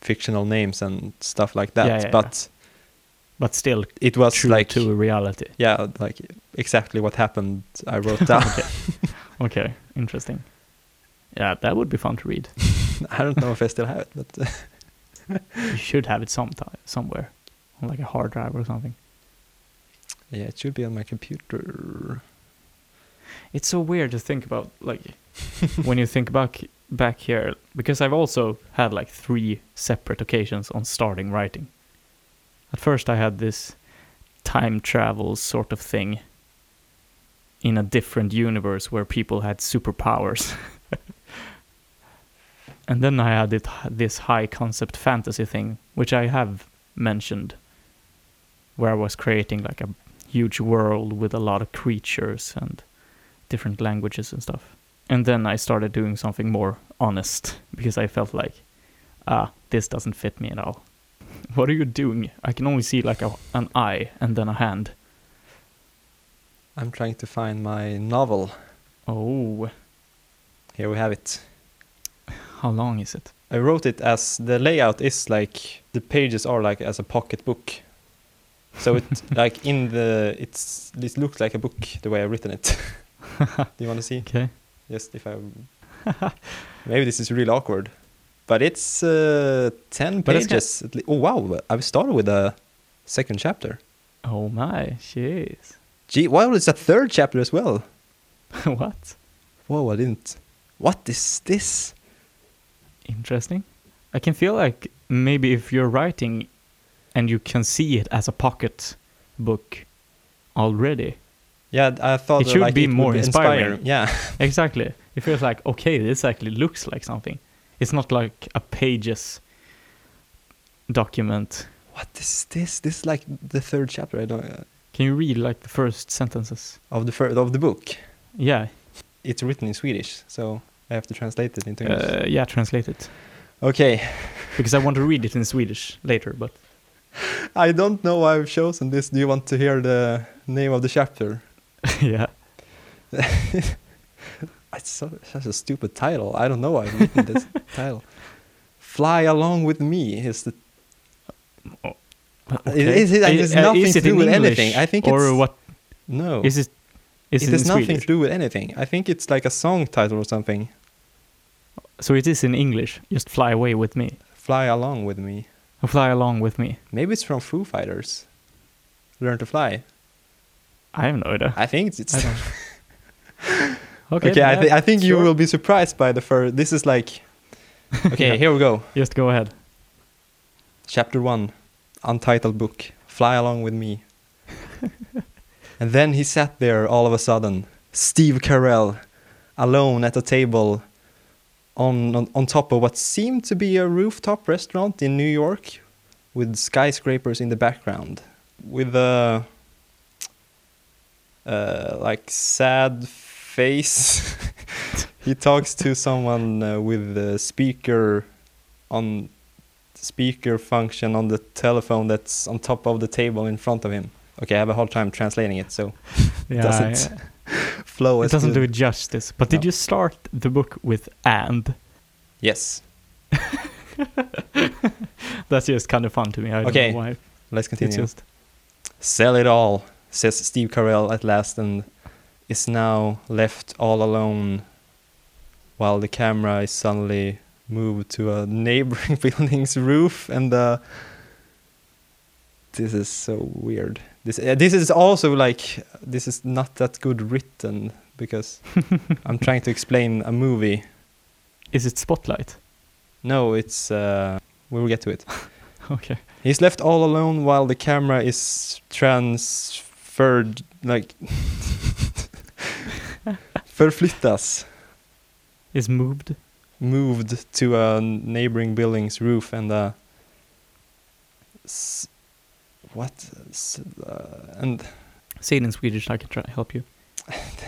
Speaker 1: fictional names and stuff like that
Speaker 2: Yeah, yeah,
Speaker 1: but
Speaker 2: But still,
Speaker 1: it was
Speaker 2: true
Speaker 1: like
Speaker 2: to reality.
Speaker 1: yeah like exactly what happened i
Speaker 2: [LAUGHS]
Speaker 1: wrote down [LAUGHS]
Speaker 2: Okay, interesting. Yeah, that would be fun to read.
Speaker 1: i don't know if i still have it but uh,
Speaker 2: you should have it sometime somewhere, on like a hard drive or something.
Speaker 1: yeah it should be on my computer
Speaker 2: It's so weird to think about, like when you think back back here, because I've also had like three separate occasions on starting writing. At first, I had this time travel sort of thing in a different universe where people had superpowers. [LAUGHS] and then I had it, this high concept fantasy thing, which I have mentioned, where I was creating like a huge world with a lot of creatures and different languages and stuff. And then I started doing something more honest because I felt like, ah, this doesn't fit me at all. [LAUGHS] What are you doing? I can only see like a, an eye and then a hand.
Speaker 1: i'm trying to find my novel
Speaker 2: Oh,
Speaker 1: here we have it
Speaker 2: how long is it?
Speaker 1: I wrote it as the layout is like the pages are like as a pocket book. So
Speaker 2: [LAUGHS]
Speaker 1: it like in the it's it looks like a book the way I've written it. [LAUGHS] Do you want to see?
Speaker 2: Okay.
Speaker 1: Just
Speaker 2: [LAUGHS]
Speaker 1: if I maybe this is really awkward, but it's uh, ten
Speaker 2: But it's got-
Speaker 1: pages. at le- oh wow! I've started with a second chapter.
Speaker 2: Oh my, jeez. [LAUGHS]
Speaker 1: Gee, wow! It's a third chapter as well.
Speaker 2: what?
Speaker 1: Whoa! I didn't. What is this?
Speaker 2: Interesting. I can feel like maybe if you're writing and you can see it as a pocket book already,
Speaker 1: Yeah, I thought
Speaker 2: It should
Speaker 1: like,
Speaker 2: be
Speaker 1: would
Speaker 2: more inspiring.
Speaker 1: Yeah. [LAUGHS]
Speaker 2: Exactly. It feels like okay, this actually looks like something. It's not like a pages document.
Speaker 1: What is this? This is like the third chapter. I don't. uh,
Speaker 2: Can you read like the first sentences?
Speaker 1: of the fir- of the book.
Speaker 2: Yeah,
Speaker 1: It's written in Swedish, so I have to translate it into English.
Speaker 2: uh, yeah, translate it
Speaker 1: okay,
Speaker 2: because I want to read it in Swedish later. But [LAUGHS]
Speaker 1: I don't know why I've chosen this. Do you want to hear the name of the chapter? [LAUGHS]
Speaker 2: yeah,
Speaker 1: It's so, such a stupid title. I don't know why I've written
Speaker 2: [LAUGHS]
Speaker 1: this title. Fly along with me is the.
Speaker 2: Okay.
Speaker 1: is it-
Speaker 2: Uh,
Speaker 1: it has
Speaker 2: uh,
Speaker 1: nothing to
Speaker 2: it
Speaker 1: do
Speaker 2: in
Speaker 1: with
Speaker 2: English,
Speaker 1: anything. I think
Speaker 2: or
Speaker 1: it's-
Speaker 2: what
Speaker 1: No,
Speaker 2: is it? Is
Speaker 1: it
Speaker 2: it,
Speaker 1: has
Speaker 2: in
Speaker 1: nothing
Speaker 2: Swedish?
Speaker 1: to do with anything. I think it's like a song title or something.
Speaker 2: So it is in English. Just fly away with me.
Speaker 1: Fly along with me.
Speaker 2: Fly along with me.
Speaker 1: Maybe it's from Foo Fighters. Learn to fly.
Speaker 2: I have no idea.
Speaker 1: I think it's.
Speaker 2: I don't-
Speaker 1: Okay, I,
Speaker 2: yeah,
Speaker 1: th- I think you
Speaker 2: sure.
Speaker 1: will be surprised by the first. This is
Speaker 2: [LAUGHS]
Speaker 1: like. Okay,
Speaker 2: Yeah.
Speaker 1: here we go.
Speaker 2: Just go ahead.
Speaker 1: Chapter 1, Untitled Book, Fly Along With Me. and then he sat there all of a sudden, Steve Carell, alone at a table on, on, on top of what seemed to be a rooftop restaurant in New York with skyscrapers in the background. With a uh, like sad face, [LAUGHS] he talks to someone uh, with a speaker on speaker function on the telephone that's on top of the table in front of him. Okay, I have a hard time translating it, so
Speaker 2: Yeah,
Speaker 1: doesn't- flow
Speaker 2: it
Speaker 1: as
Speaker 2: doesn't do
Speaker 1: good.
Speaker 2: it justice. But did
Speaker 1: No.
Speaker 2: you start the book with and?
Speaker 1: Yes,
Speaker 2: That's just kind of fun to me. I don't
Speaker 1: Okay,
Speaker 2: know why.
Speaker 1: let's
Speaker 2: It's
Speaker 1: continue.
Speaker 2: just
Speaker 1: Sell it all, says Steve Carell at last, and is now left all alone while the camera is suddenly moved to a neighboring [LAUGHS] building's roof and uh this is so weird this uh, this is also like this is not that good written because I'm trying to explain a movie.
Speaker 2: Is it Spotlight?
Speaker 1: No, it's uh, we will get to it.
Speaker 2: Okay.
Speaker 1: He's left all alone while the camera is transferred, like förflyttas,
Speaker 2: Is moved?
Speaker 1: moved to a neighboring building's roof and uh, s- what? S- uh, and [LAUGHS]
Speaker 2: Say it in Swedish. I can try help you.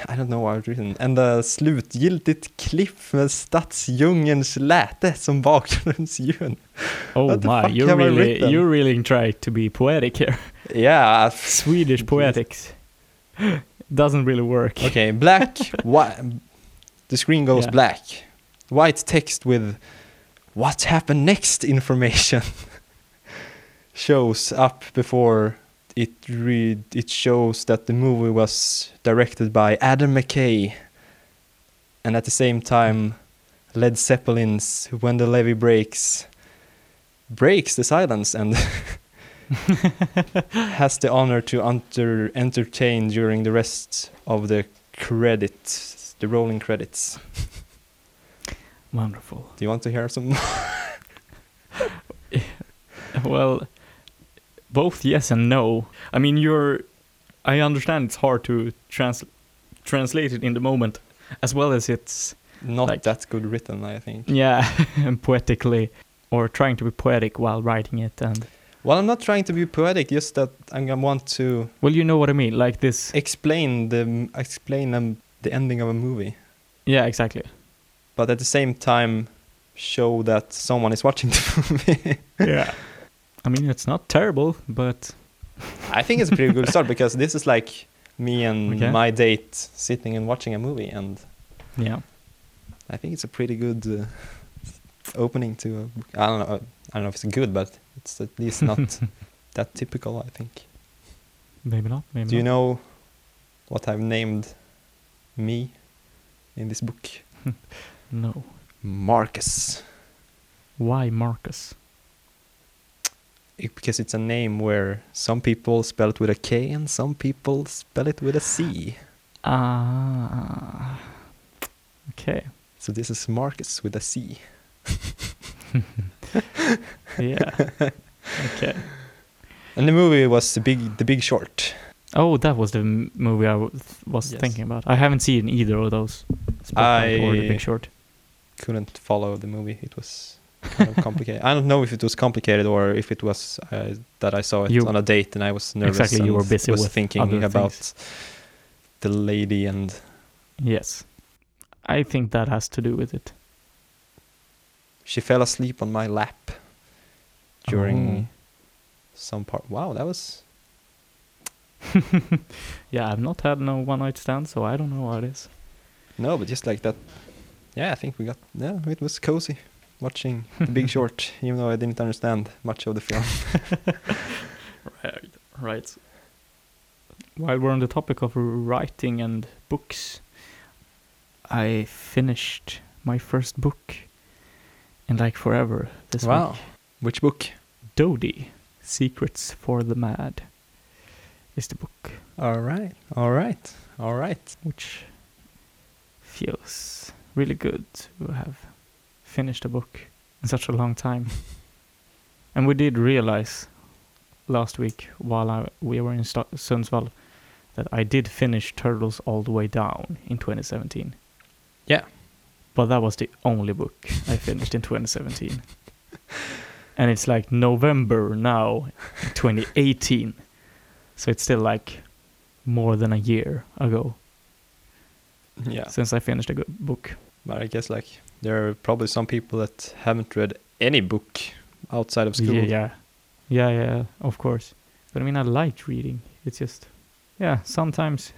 Speaker 1: I don't know what I've written. And uh, slutgiltigt klipp med stadsdjungelns läte som bakgrundsljud.
Speaker 2: Oh
Speaker 1: What the
Speaker 2: my!
Speaker 1: fuck
Speaker 2: You're
Speaker 1: have I
Speaker 2: really
Speaker 1: written?
Speaker 2: you're really trying to be poetic here. [LAUGHS]
Speaker 1: Yeah.
Speaker 2: Swedish poetics [LAUGHS] doesn't really work.
Speaker 1: Okay,
Speaker 2: [LAUGHS]
Speaker 1: black. whi- the screen goes
Speaker 2: Yeah.
Speaker 1: black. White text with what happened next information [LAUGHS] shows up before it read it shows that the movie was directed by Adam McKay and at the same time Led Zeppelin's When the Levee Breaks breaks the silence
Speaker 2: [LAUGHS]
Speaker 1: and [LAUGHS] has the honor to enter, entertain during the rest of the credits, the rolling credits.
Speaker 2: Wonderful.
Speaker 1: Do you want to hear some? [LAUGHS]
Speaker 2: Well, both yes and no. I mean, you're. I understand it's hard to trans- translate it in the moment, as well as it's
Speaker 1: Not
Speaker 2: Like-
Speaker 1: that good written, I think.
Speaker 2: yeah, [LAUGHS] and poetically or trying to be poetic while writing it. And
Speaker 1: Well, I'm not trying to be poetic, just that I want to
Speaker 2: well, you know what I mean. Like this.
Speaker 1: explain the explain um, the ending of a movie,
Speaker 2: Yeah, exactly.
Speaker 1: but at the same time show that someone is watching [LAUGHS] the movie.
Speaker 2: Yeah. [LAUGHS] I mean, it's not terrible, but
Speaker 1: I think it's a pretty good start because this is like me and
Speaker 2: Okay.
Speaker 1: my date sitting and watching a movie and
Speaker 2: yeah.
Speaker 1: I think it's a pretty good uh, opening to. I I don't know. I don't know if it's good, but it's at least
Speaker 2: [LAUGHS]
Speaker 1: not that typical. I think.
Speaker 2: Maybe not. Maybe
Speaker 1: Do you
Speaker 2: not.
Speaker 1: know what I've named me in this book?
Speaker 2: No.
Speaker 1: Marcus,
Speaker 2: Why Marcus?
Speaker 1: It- because it's a name where some people spell it with a K and some people spell it with a C.
Speaker 2: Ah. okay.
Speaker 1: So this is Marcus with a C.
Speaker 2: Yeah.
Speaker 1: [LAUGHS]
Speaker 2: okay.
Speaker 1: And the movie was the big, the Big Short.
Speaker 2: Oh, that was the m- movie I w- was
Speaker 1: Yes.
Speaker 2: thinking about. I haven't seen either of those. Spotlight or The
Speaker 1: I-
Speaker 2: Big Short.
Speaker 1: couldn't follow the movie. It was kind of
Speaker 2: [LAUGHS]
Speaker 1: complicated. I don't know if it was complicated or if it was uh, that I saw it
Speaker 2: You-
Speaker 1: on a date and I was nervous.
Speaker 2: Exactly, you
Speaker 1: and
Speaker 2: were busy
Speaker 1: was
Speaker 2: with
Speaker 1: thinking
Speaker 2: other
Speaker 1: about the lady and
Speaker 2: Yes. I think that has to do with it.
Speaker 1: she fell asleep on my lap during some part. Wow, that was
Speaker 2: Yeah, I've not had no one night stand, so I don't know what it is.
Speaker 1: no, but just like that. Yeah, I think we got. Yeah, it was cozy [LAUGHS] watching The Big Short, even though I didn't understand much of the [LAUGHS] film.
Speaker 2: [LAUGHS] Right. Right. While we're on the topic of writing and books, I finished my first book in like forever this week.
Speaker 1: which book?
Speaker 2: Dodie, Secrets for the Mad is the book,
Speaker 1: All right, all right, all right.
Speaker 2: which feels really good to have finished a book in such a long time. and we did realize last week while I, we were in Sta- Sundsvall that I did finish Turtles All the Way Down in 2017.
Speaker 1: Yeah.
Speaker 2: But that was the only book I finished in 2017. and it's like November now, 2018. So it's still like more than a year ago
Speaker 1: Yeah.
Speaker 2: since I finished a good book.
Speaker 1: But I guess like there are probably some people that haven't read any book outside of school.
Speaker 2: Yeah, yeah, yeah, yeah. Of course. But I mean, I like reading. It's just, yeah. Sometimes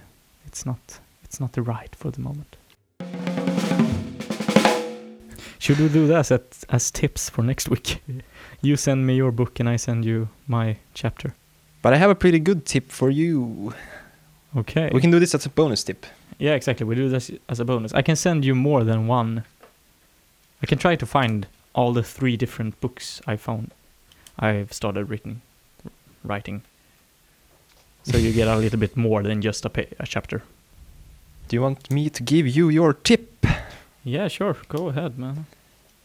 Speaker 2: it's not. It's not the right for the moment. Should we do that as, as tips for next week? you send me your book and I send you my chapter.
Speaker 1: But I have a pretty good tip for you.
Speaker 2: Okay.
Speaker 1: We can do this as a bonus tip.
Speaker 2: Yeah, exactly. We do this as a bonus. I can send you more than one. I can try to find all the three different books I found. I've started written, writing. So you get a little bit more than just a, pa- a chapter.
Speaker 1: Do you want me to give you your tip?
Speaker 2: Yeah, sure. Go ahead, man.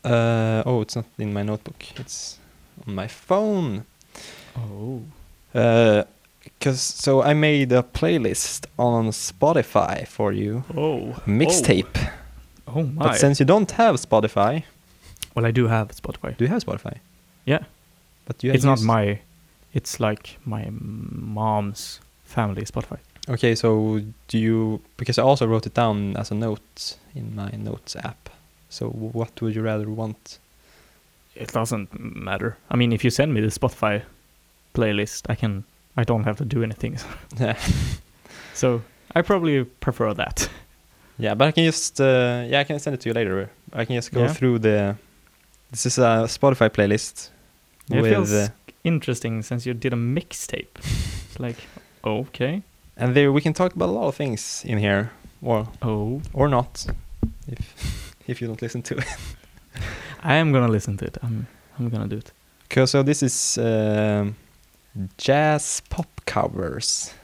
Speaker 1: Uh, oh, it's not in my notebook. It's on my phone.
Speaker 2: Oh.
Speaker 1: Uh 'cause so I made a playlist on Spotify for you,
Speaker 2: Oh.
Speaker 1: mixtape.
Speaker 2: Oh, my.
Speaker 1: But since you don't have Spotify,
Speaker 2: well, I do have Spotify.
Speaker 1: do you have Spotify?
Speaker 2: Yeah.
Speaker 1: But you
Speaker 2: it's not
Speaker 1: use-
Speaker 2: my. It's like my mom's family Spotify.
Speaker 1: Okay, so do you because I also wrote it down as a note in my notes app. So what would you rather want? [LAUGHS]
Speaker 2: It doesn't matter. I mean, if you send me the Spotify playlist, I can. I don't have to do anything. [LAUGHS] so I probably prefer that.
Speaker 1: yeah, but I can just uh, yeah I can send it to you later. I can just go
Speaker 2: Yeah.
Speaker 1: through the. This is a Spotify playlist.
Speaker 2: It
Speaker 1: with
Speaker 2: feels
Speaker 1: uh,
Speaker 2: interesting since you did a mixtape. It's like, okay.
Speaker 1: and there we can talk about a lot of things in here, or
Speaker 2: Oh.
Speaker 1: or not, if [LAUGHS] if you don't listen to it.
Speaker 2: I am gonna listen to it. I'm. I'm gonna do it.
Speaker 1: Cause so this is um, jazz pop covers.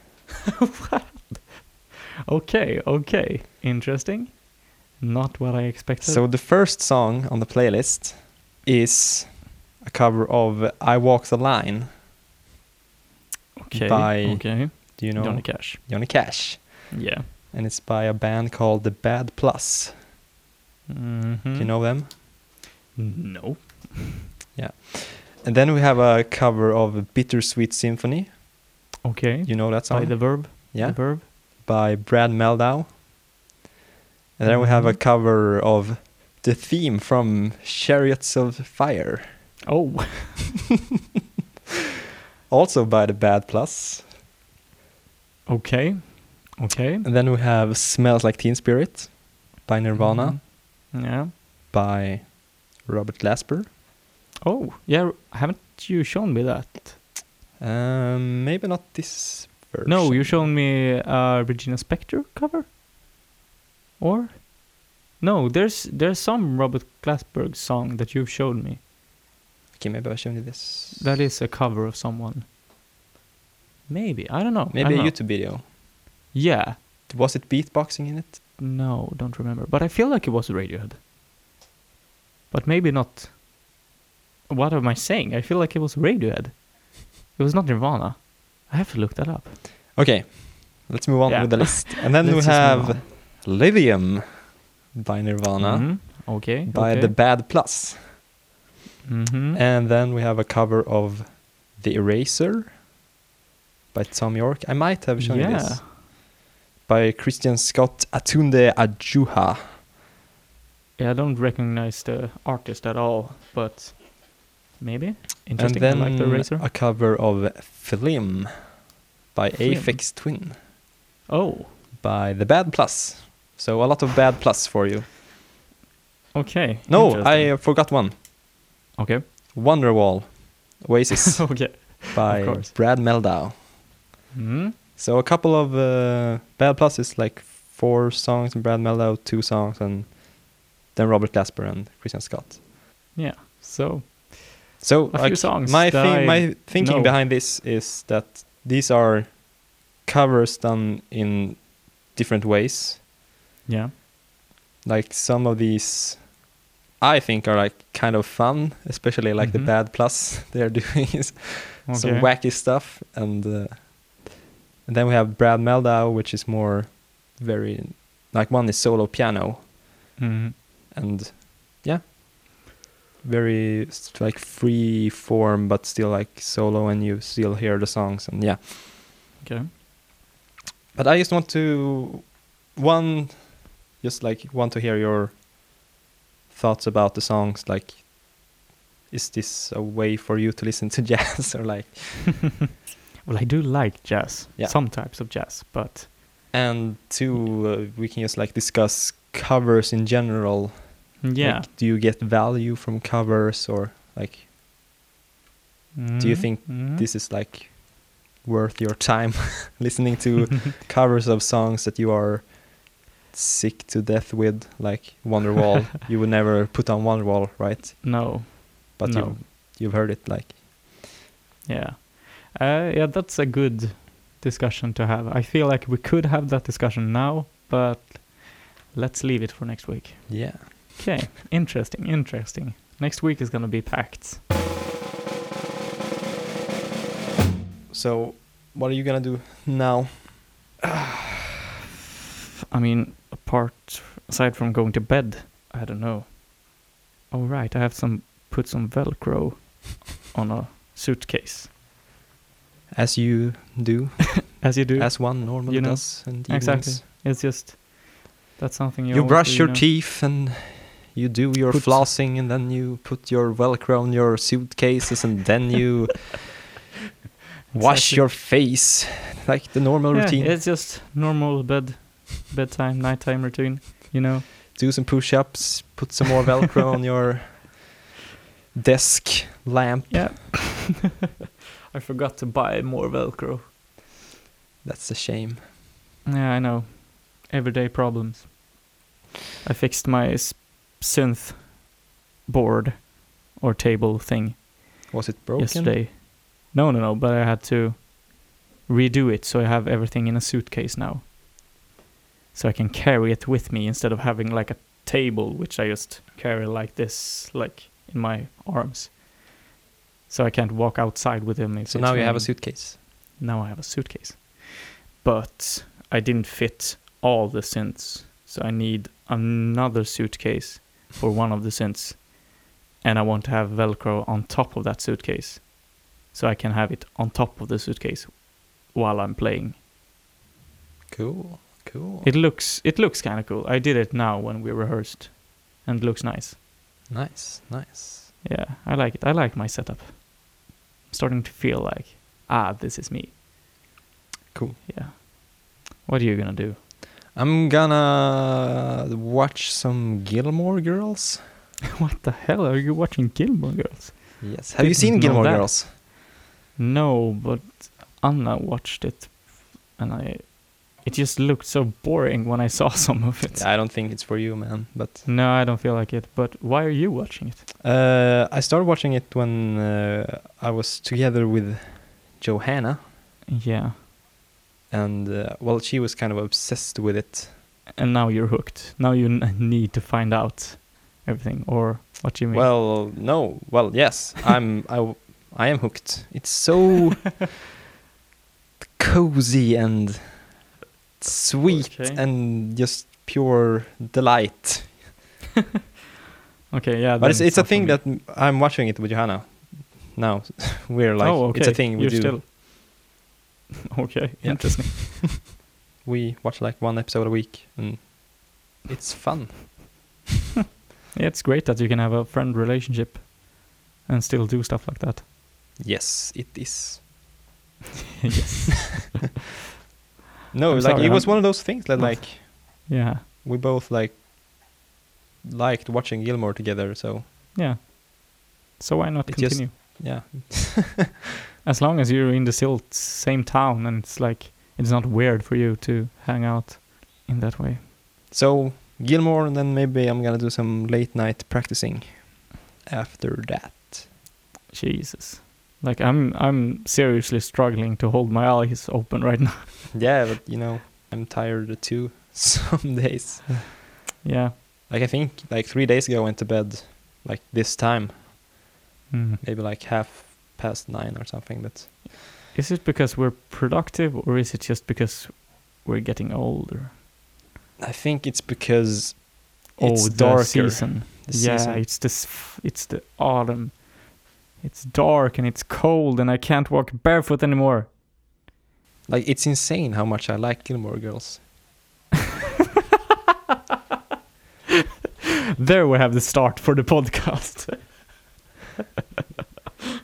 Speaker 2: Okay. Okay. Interesting. Not what I expected.
Speaker 1: So the first song on the playlist is a cover of "I Walk the Line."
Speaker 2: okay.
Speaker 1: by,
Speaker 2: okay.
Speaker 1: Do you know
Speaker 2: Johnny
Speaker 1: Johnny,
Speaker 2: Cash.
Speaker 1: Cash?
Speaker 2: Yeah.
Speaker 1: And it's by a band called the Bad Plus.
Speaker 2: Mm-hmm.
Speaker 1: Do you know them?
Speaker 2: No.
Speaker 1: And then we have a cover of "Bittersweet Symphony."
Speaker 2: Okay.
Speaker 1: You know that song?
Speaker 2: by the verb.
Speaker 1: yeah,
Speaker 2: The verb.
Speaker 1: by Brad Meldow. And then we have a
Speaker 2: Mhm.
Speaker 1: cover of the theme from "Chariots of Fire,"
Speaker 2: Oh. [LAUGHS]
Speaker 1: also by the Bad Plus.
Speaker 2: Okay. Okay.
Speaker 1: And then we have Smells Like Teen Spirit by Nirvana,
Speaker 2: Mhm. Yeah.
Speaker 1: by Robert Glasper.
Speaker 2: Oh. Yeah. Haven't you shown me that?
Speaker 1: Um, maybe not this version.
Speaker 2: No, you shown me uh, Regina Spektor cover. Or. No, there's there's some Robert Glasberg song that you've shown me.
Speaker 1: Okay, maybe I'll show you this.
Speaker 2: That is a cover of someone. Maybe I don't know. I
Speaker 1: Maybe a
Speaker 2: don't know.
Speaker 1: YouTube video.
Speaker 2: Yeah.
Speaker 1: Was it beatboxing in it?
Speaker 2: No, don't remember. But I feel like it was Radiohead. But maybe not. What am I saying? I feel like it was Radiohead. It was not Nirvana. I have to look that up.
Speaker 1: Okay, let's move on
Speaker 2: Yeah.
Speaker 1: with the list. And then we
Speaker 2: [LAUGHS] Let's just move
Speaker 1: have Livium by Nirvana,
Speaker 2: Mhm. Okay.
Speaker 1: by The Bad Plus.
Speaker 2: hmm
Speaker 1: And then we have a cover of The Eraser by Tom York. I might have shown you
Speaker 2: yeah.
Speaker 1: this. By Christian Scott Atunde Ajuha.
Speaker 2: yeah, I don't recognize the artist at all, but maybe
Speaker 1: And
Speaker 2: interesting.
Speaker 1: then
Speaker 2: I like the razor.
Speaker 1: a cover of Flim by
Speaker 2: Flim.
Speaker 1: Aphex Twin
Speaker 2: oh,
Speaker 1: by The Bad Plus. So a lot of Bad Plus for you.
Speaker 2: okay.
Speaker 1: No, I
Speaker 2: interesting.
Speaker 1: uh, forgot one. [LAUGHS]
Speaker 2: okay.
Speaker 1: Wonderwall,
Speaker 2: [LAUGHS]
Speaker 1: Oasis
Speaker 2: okay.
Speaker 1: by
Speaker 2: course.
Speaker 1: Brad Meldow.
Speaker 2: hmm
Speaker 1: So a couple of uh, Bad Plus is like four songs and Brad Meldow two songs and then Robert Glasper and Christian Scott.
Speaker 2: Yeah. So
Speaker 1: So
Speaker 2: A few
Speaker 1: like,
Speaker 2: songs
Speaker 1: my
Speaker 2: that I
Speaker 1: thing, my thinking
Speaker 2: know.
Speaker 1: behind this is that these are covers done in different ways.
Speaker 2: yeah.
Speaker 1: Like some of these, I think are like kind of fun, especially like
Speaker 2: Mhm.
Speaker 1: the Bad Plus [LAUGHS] they're doing is some
Speaker 2: okay.
Speaker 1: wacky stuff, and uh, and then we have Brad Meldow, which is more very like one is solo piano
Speaker 2: Mhm.
Speaker 1: and yeah, very s- like free form, but still like solo, and you still hear the songs, and yeah.
Speaker 2: Okay.
Speaker 1: But I just want to one, just like want to hear your thoughts about the songs. Like, is this a way for you to listen to [LAUGHS] jazz, or like?
Speaker 2: Well, I do like jazz,
Speaker 1: Yeah.
Speaker 2: some types of jazz, but
Speaker 1: and two uh, we can just like discuss covers in general
Speaker 2: yeah.
Speaker 1: like, do you get value from covers or like do you
Speaker 2: Mhm,
Speaker 1: think
Speaker 2: mhm.
Speaker 1: this is like worth your time [LAUGHS] listening
Speaker 2: [LAUGHS]
Speaker 1: to covers of songs that you are sick to death with like
Speaker 2: [LAUGHS]
Speaker 1: wonderwall you would never put on wonderwall right
Speaker 2: No,
Speaker 1: but
Speaker 2: no,
Speaker 1: you, you've heard it like
Speaker 2: yeah, uh, yeah. That's a good discussion to have. I feel like we could have that discussion now, but let's leave it for next week.
Speaker 1: Yeah. [LAUGHS]
Speaker 2: Okay, interesting, interesting. Next week is gonna be packed.
Speaker 1: So, what are you gonna do now?
Speaker 2: I mean, apart aside from going to bed, I don't know. All right, I have some put
Speaker 1: [LAUGHS]
Speaker 2: some Velcro on a suitcase,
Speaker 1: As you do,
Speaker 2: as you do.
Speaker 1: as one normally
Speaker 2: You know,
Speaker 1: does. And
Speaker 2: exactly. It's just that's something you.
Speaker 1: You
Speaker 2: always
Speaker 1: brush
Speaker 2: do,
Speaker 1: your
Speaker 2: know.
Speaker 1: teeth and you do your
Speaker 2: Put-
Speaker 1: flossing, and then you put your Velcro on your suitcases, and then you wash
Speaker 2: [LAUGHS] Exactly.
Speaker 1: your face like the normal
Speaker 2: Yeah,
Speaker 1: routine.
Speaker 2: It's just normal bed, bedtime, nighttime routine. You know.
Speaker 1: do some push-ups, put some more Velcro on your desk lamp.
Speaker 2: Yeah. I forgot to buy more Velcro.
Speaker 1: That's a shame.
Speaker 2: Yeah, I know. Everyday problems. I fixed my s- synth board or table thing
Speaker 1: Was it broken?
Speaker 2: yesterday. No, no, no, but I had to redo it so I have everything in a suitcase now. So I can carry it with me instead of having like a table which I just carry like this, like in my arms. So I can't walk outside with him. If
Speaker 1: So
Speaker 2: it's
Speaker 1: now you have a
Speaker 2: raining
Speaker 1: suitcase.
Speaker 2: now I have a suitcase. But I didn't fit all the synths, so I need another suitcase for one of the synths. And I want to have Velcro on top of that suitcase, so I can have it on top of the suitcase while I'm playing.
Speaker 1: Cool, cool.
Speaker 2: It looks it looks kind of cool. I did it now when we rehearsed, and it looks nice.
Speaker 1: nice, nice.
Speaker 2: Yeah, I like it. I like my setup. starting to feel like ah, this is me.
Speaker 1: Cool.
Speaker 2: Yeah. What are you gonna do?
Speaker 1: I'm gonna watch some Gilmore Girls.
Speaker 2: [LAUGHS] What the hell are you watching Gilmore Girls?
Speaker 1: Yes. Have you
Speaker 2: Didn't
Speaker 1: seen
Speaker 2: know
Speaker 1: Gilmore
Speaker 2: that.
Speaker 1: Girls?
Speaker 2: No, but Anna watched it and I it just looked so boring when I saw [LAUGHS] some of it.
Speaker 1: I don't think it's for you, man. But
Speaker 2: No, I don't feel like it, but why are you watching it?
Speaker 1: uh, I started watching it when uh, I was together with Johanna,
Speaker 2: Yeah.
Speaker 1: and uh, well, she was kind of obsessed with it.
Speaker 2: And now you're hooked. Now you n- need to find out everything or what do you mean?
Speaker 1: Well, no. Well, yes. [LAUGHS] I'm. I. w- I am hooked. It's so cozy and sweet
Speaker 2: Okay.
Speaker 1: and just pure delight.
Speaker 2: okay, yeah.
Speaker 1: But it's,
Speaker 2: then
Speaker 1: it's a
Speaker 2: not for me.
Speaker 1: thing that m- I'm watching it with Johanna. Now [LAUGHS] we're like
Speaker 2: oh, okay.
Speaker 1: it's a thing we
Speaker 2: you're
Speaker 1: do.
Speaker 2: Still... [LAUGHS] okay,
Speaker 1: Yeah.
Speaker 2: interesting.
Speaker 1: We watch like one episode a week, and it's fun.
Speaker 2: Yeah, it's great that you can have a friend relationship and still do stuff like that.
Speaker 1: Yes, it is.
Speaker 2: yes.
Speaker 1: [LAUGHS] No,
Speaker 2: I'm
Speaker 1: like
Speaker 2: sorry,
Speaker 1: it was
Speaker 2: I'm-
Speaker 1: one of those things that like
Speaker 2: Yeah.
Speaker 1: we both like liked watching Gilmore together. So
Speaker 2: Yeah. So why not
Speaker 1: It just-
Speaker 2: continue?
Speaker 1: yeah,
Speaker 2: As long as you're in the still t- same town and it's like it's not weird for you to hang out in that way.
Speaker 1: So Gilmore, and then maybe I'm gonna do some late night practicing after that.
Speaker 2: Jesus. Like I'm I'm seriously struggling to hold my eyes open right now. [LAUGHS]
Speaker 1: Yeah, but you know, I'm tired too. [LAUGHS] Some days,
Speaker 2: yeah.
Speaker 1: like I think, like three days ago, I went to bed like this time,
Speaker 2: Mm.
Speaker 1: maybe like half past nine or something. But
Speaker 2: Is it because we're productive or is it just because we're getting older?
Speaker 1: I think it's because
Speaker 2: oh,
Speaker 1: it's
Speaker 2: the
Speaker 1: darker.
Speaker 2: season.
Speaker 1: the
Speaker 2: yeah,
Speaker 1: season.
Speaker 2: it's this f- it's the autumn. It's dark and it's cold and I can't walk barefoot anymore.
Speaker 1: like it's insane how much I like Gilmore Girls.
Speaker 2: There we have the start for the podcast. [LAUGHS]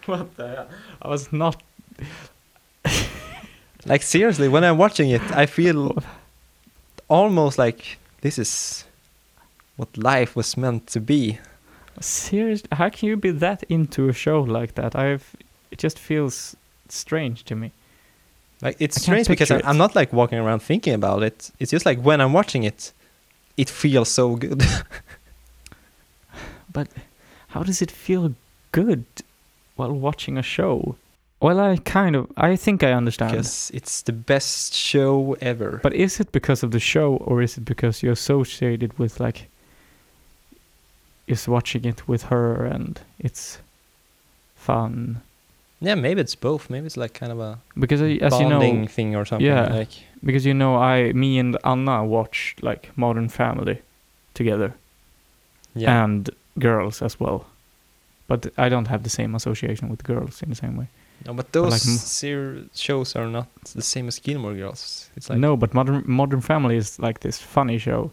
Speaker 2: what the hell? I was not.
Speaker 1: Like seriously, when I'm watching it, I feel almost like this is what life was meant to be.
Speaker 2: Seriously? How can you be that into a show like that? I've. It just feels strange to me.
Speaker 1: Like it's
Speaker 2: I can't
Speaker 1: strange because
Speaker 2: picture
Speaker 1: I'm,
Speaker 2: it.
Speaker 1: I'm not like walking around thinking about it. It's just like when I'm watching it, it feels so good.
Speaker 2: But how does it feel good while watching a show? Well, I kind of I think I understand.
Speaker 1: because it's the best show ever.
Speaker 2: But is it because of the show, or is it because you associate it with like just watching it with her and it's fun?
Speaker 1: yeah, maybe it's both. Maybe it's like kind of a
Speaker 2: Because I, as you
Speaker 1: bonding
Speaker 2: know,
Speaker 1: thing or something.
Speaker 2: Yeah.
Speaker 1: Like
Speaker 2: because you know, I, me and Anna watch like Modern Family together
Speaker 1: yeah,
Speaker 2: and girls as well. But I don't have the same association with girls in the same way.
Speaker 1: no, but
Speaker 2: like
Speaker 1: those
Speaker 2: m-
Speaker 1: ser- shows are not the same as Gilmore Girls. It's like
Speaker 2: no, but Modern Modern Family is like this funny show,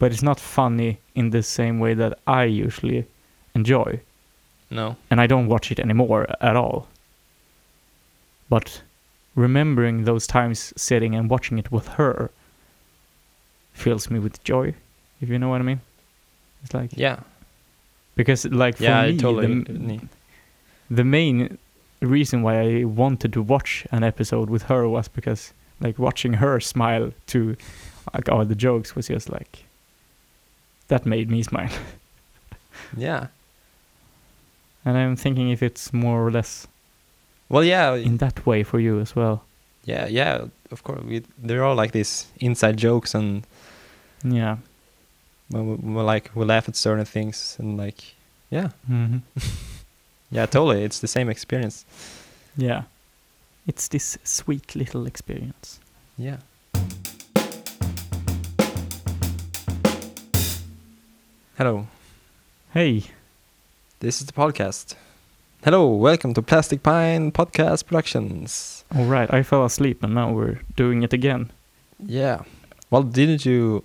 Speaker 2: but it's not funny in the same way that I usually enjoy.
Speaker 1: no,
Speaker 2: and I don't watch it anymore at all. But remembering those times sitting and watching it with her fills me with joy, if you know what I mean. It's like
Speaker 1: yeah,
Speaker 2: because like for
Speaker 1: yeah, I
Speaker 2: me
Speaker 1: totally.
Speaker 2: the, m- the main reason why I wanted to watch an episode with her was because like watching her smile to like all the jokes was just like that made me smile. [LAUGHS]
Speaker 1: yeah.
Speaker 2: And I'm thinking if it's more or less
Speaker 1: Well, yeah,
Speaker 2: in that way for you as well.
Speaker 1: yeah, yeah. Of course, we, there are like these inside jokes, and
Speaker 2: Yeah.
Speaker 1: when we, we like we laugh at certain things, and like, yeah,
Speaker 2: Mm-hmm.
Speaker 1: yeah, totally. It's the same experience.
Speaker 2: Yeah. It's this sweet little experience.
Speaker 1: Yeah. Hello.
Speaker 2: Hey,
Speaker 1: This is the podcast. Hello, welcome to Plastic Pine Podcast Productions.
Speaker 2: all right, I fell asleep and now we're doing it again.
Speaker 1: Yeah. Well, didn't you?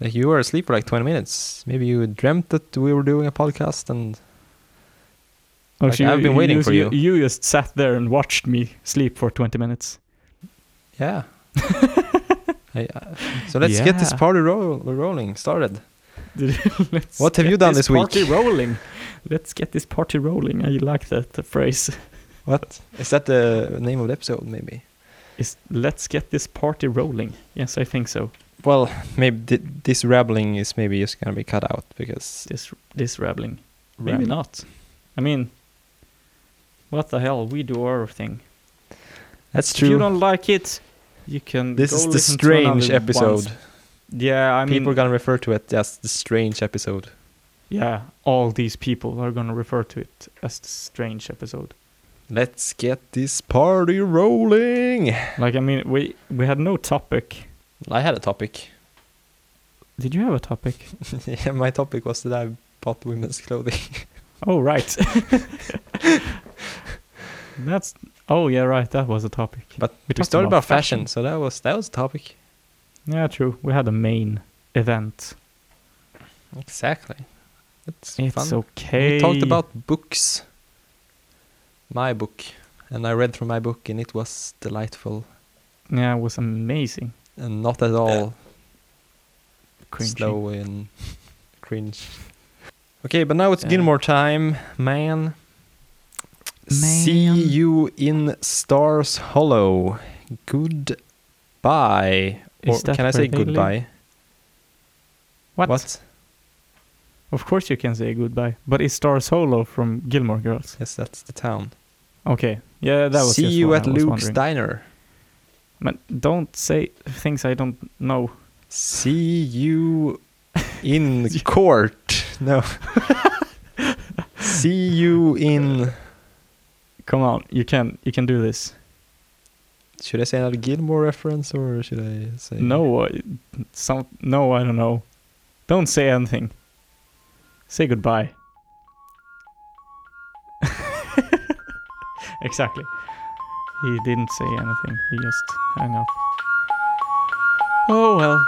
Speaker 1: Like you were asleep for like 20 minutes. Maybe you dreamt that we were doing a podcast, and
Speaker 2: Oh,
Speaker 1: Like, I've been waiting for you.
Speaker 2: You just sat there and watched me sleep for 20 minutes.
Speaker 1: yeah. I, uh, so let's get this
Speaker 2: Yeah.
Speaker 1: party roll, rolling started. [LAUGHS]
Speaker 2: Let's
Speaker 1: What have
Speaker 2: get
Speaker 1: you done this week?
Speaker 2: Party rolling. [LAUGHS] Let's get this party rolling. I like that uh, phrase.
Speaker 1: What is that? The name of the episode, maybe.
Speaker 2: Is let's get this party rolling. Yes, I think so.
Speaker 1: Well, maybe th- this rambling is maybe just gonna be cut out because
Speaker 2: This this rabbling. Maybe
Speaker 1: Ram-
Speaker 2: not. I mean, what the hell? We do our thing.
Speaker 1: That's
Speaker 2: If you
Speaker 1: true.
Speaker 2: don't like it, you can.
Speaker 1: This
Speaker 2: go
Speaker 1: is the
Speaker 2: listen to another
Speaker 1: strange episode.
Speaker 2: ones. Yeah, I mean,
Speaker 1: People are gonna refer to it as the strange episode.
Speaker 2: yeah, all these people are gonna refer to it as the strange episode.
Speaker 1: Let's get this party rolling.
Speaker 2: Like, I mean, we we had no topic.
Speaker 1: I had a topic.
Speaker 2: Did you have a topic?
Speaker 1: [LAUGHS] yeah, my topic was that I bought women's clothing.
Speaker 2: Oh right. [LAUGHS] That's oh yeah right. That was a topic.
Speaker 1: But
Speaker 2: we
Speaker 1: we
Speaker 2: talked
Speaker 1: started about,
Speaker 2: about
Speaker 1: fashion,
Speaker 2: fashion.
Speaker 1: so that was that was the topic.
Speaker 2: Yeah, true. We had a main event.
Speaker 1: Exactly. It's,
Speaker 2: It's
Speaker 1: fun.
Speaker 2: okay.
Speaker 1: We talked about books. My book, and I read through my book, and it was delightful
Speaker 2: yeah, it was amazing.
Speaker 1: and not at all
Speaker 2: Cringy.
Speaker 1: slow and cringe. Okay, but now it's
Speaker 2: Yeah.
Speaker 1: Gilmore time, man. See
Speaker 2: Man.
Speaker 1: you in Stars Hollow. Goodbye. Or
Speaker 2: Is that
Speaker 1: can I say
Speaker 2: where they live?
Speaker 1: goodbye?
Speaker 2: What? Of course you can say goodbye. But it stars Solo from Gilmore Girls.
Speaker 1: Yes, that's the town.
Speaker 2: Okay. Yeah, that was
Speaker 1: See
Speaker 2: just
Speaker 1: you
Speaker 2: what
Speaker 1: at
Speaker 2: I was
Speaker 1: Luke's
Speaker 2: wondering.
Speaker 1: diner.
Speaker 2: Man, don't say things I don't know.
Speaker 1: See
Speaker 2: [LAUGHS]
Speaker 1: you in court. No. See you in.
Speaker 2: Come on, you can you can do this.
Speaker 1: Should I say another Gilmore reference or should I say
Speaker 2: No, uh, some no, I don't know. Don't say anything. Say goodbye. [LAUGHS] exactly. He didn't say anything. He just hung up. Oh well.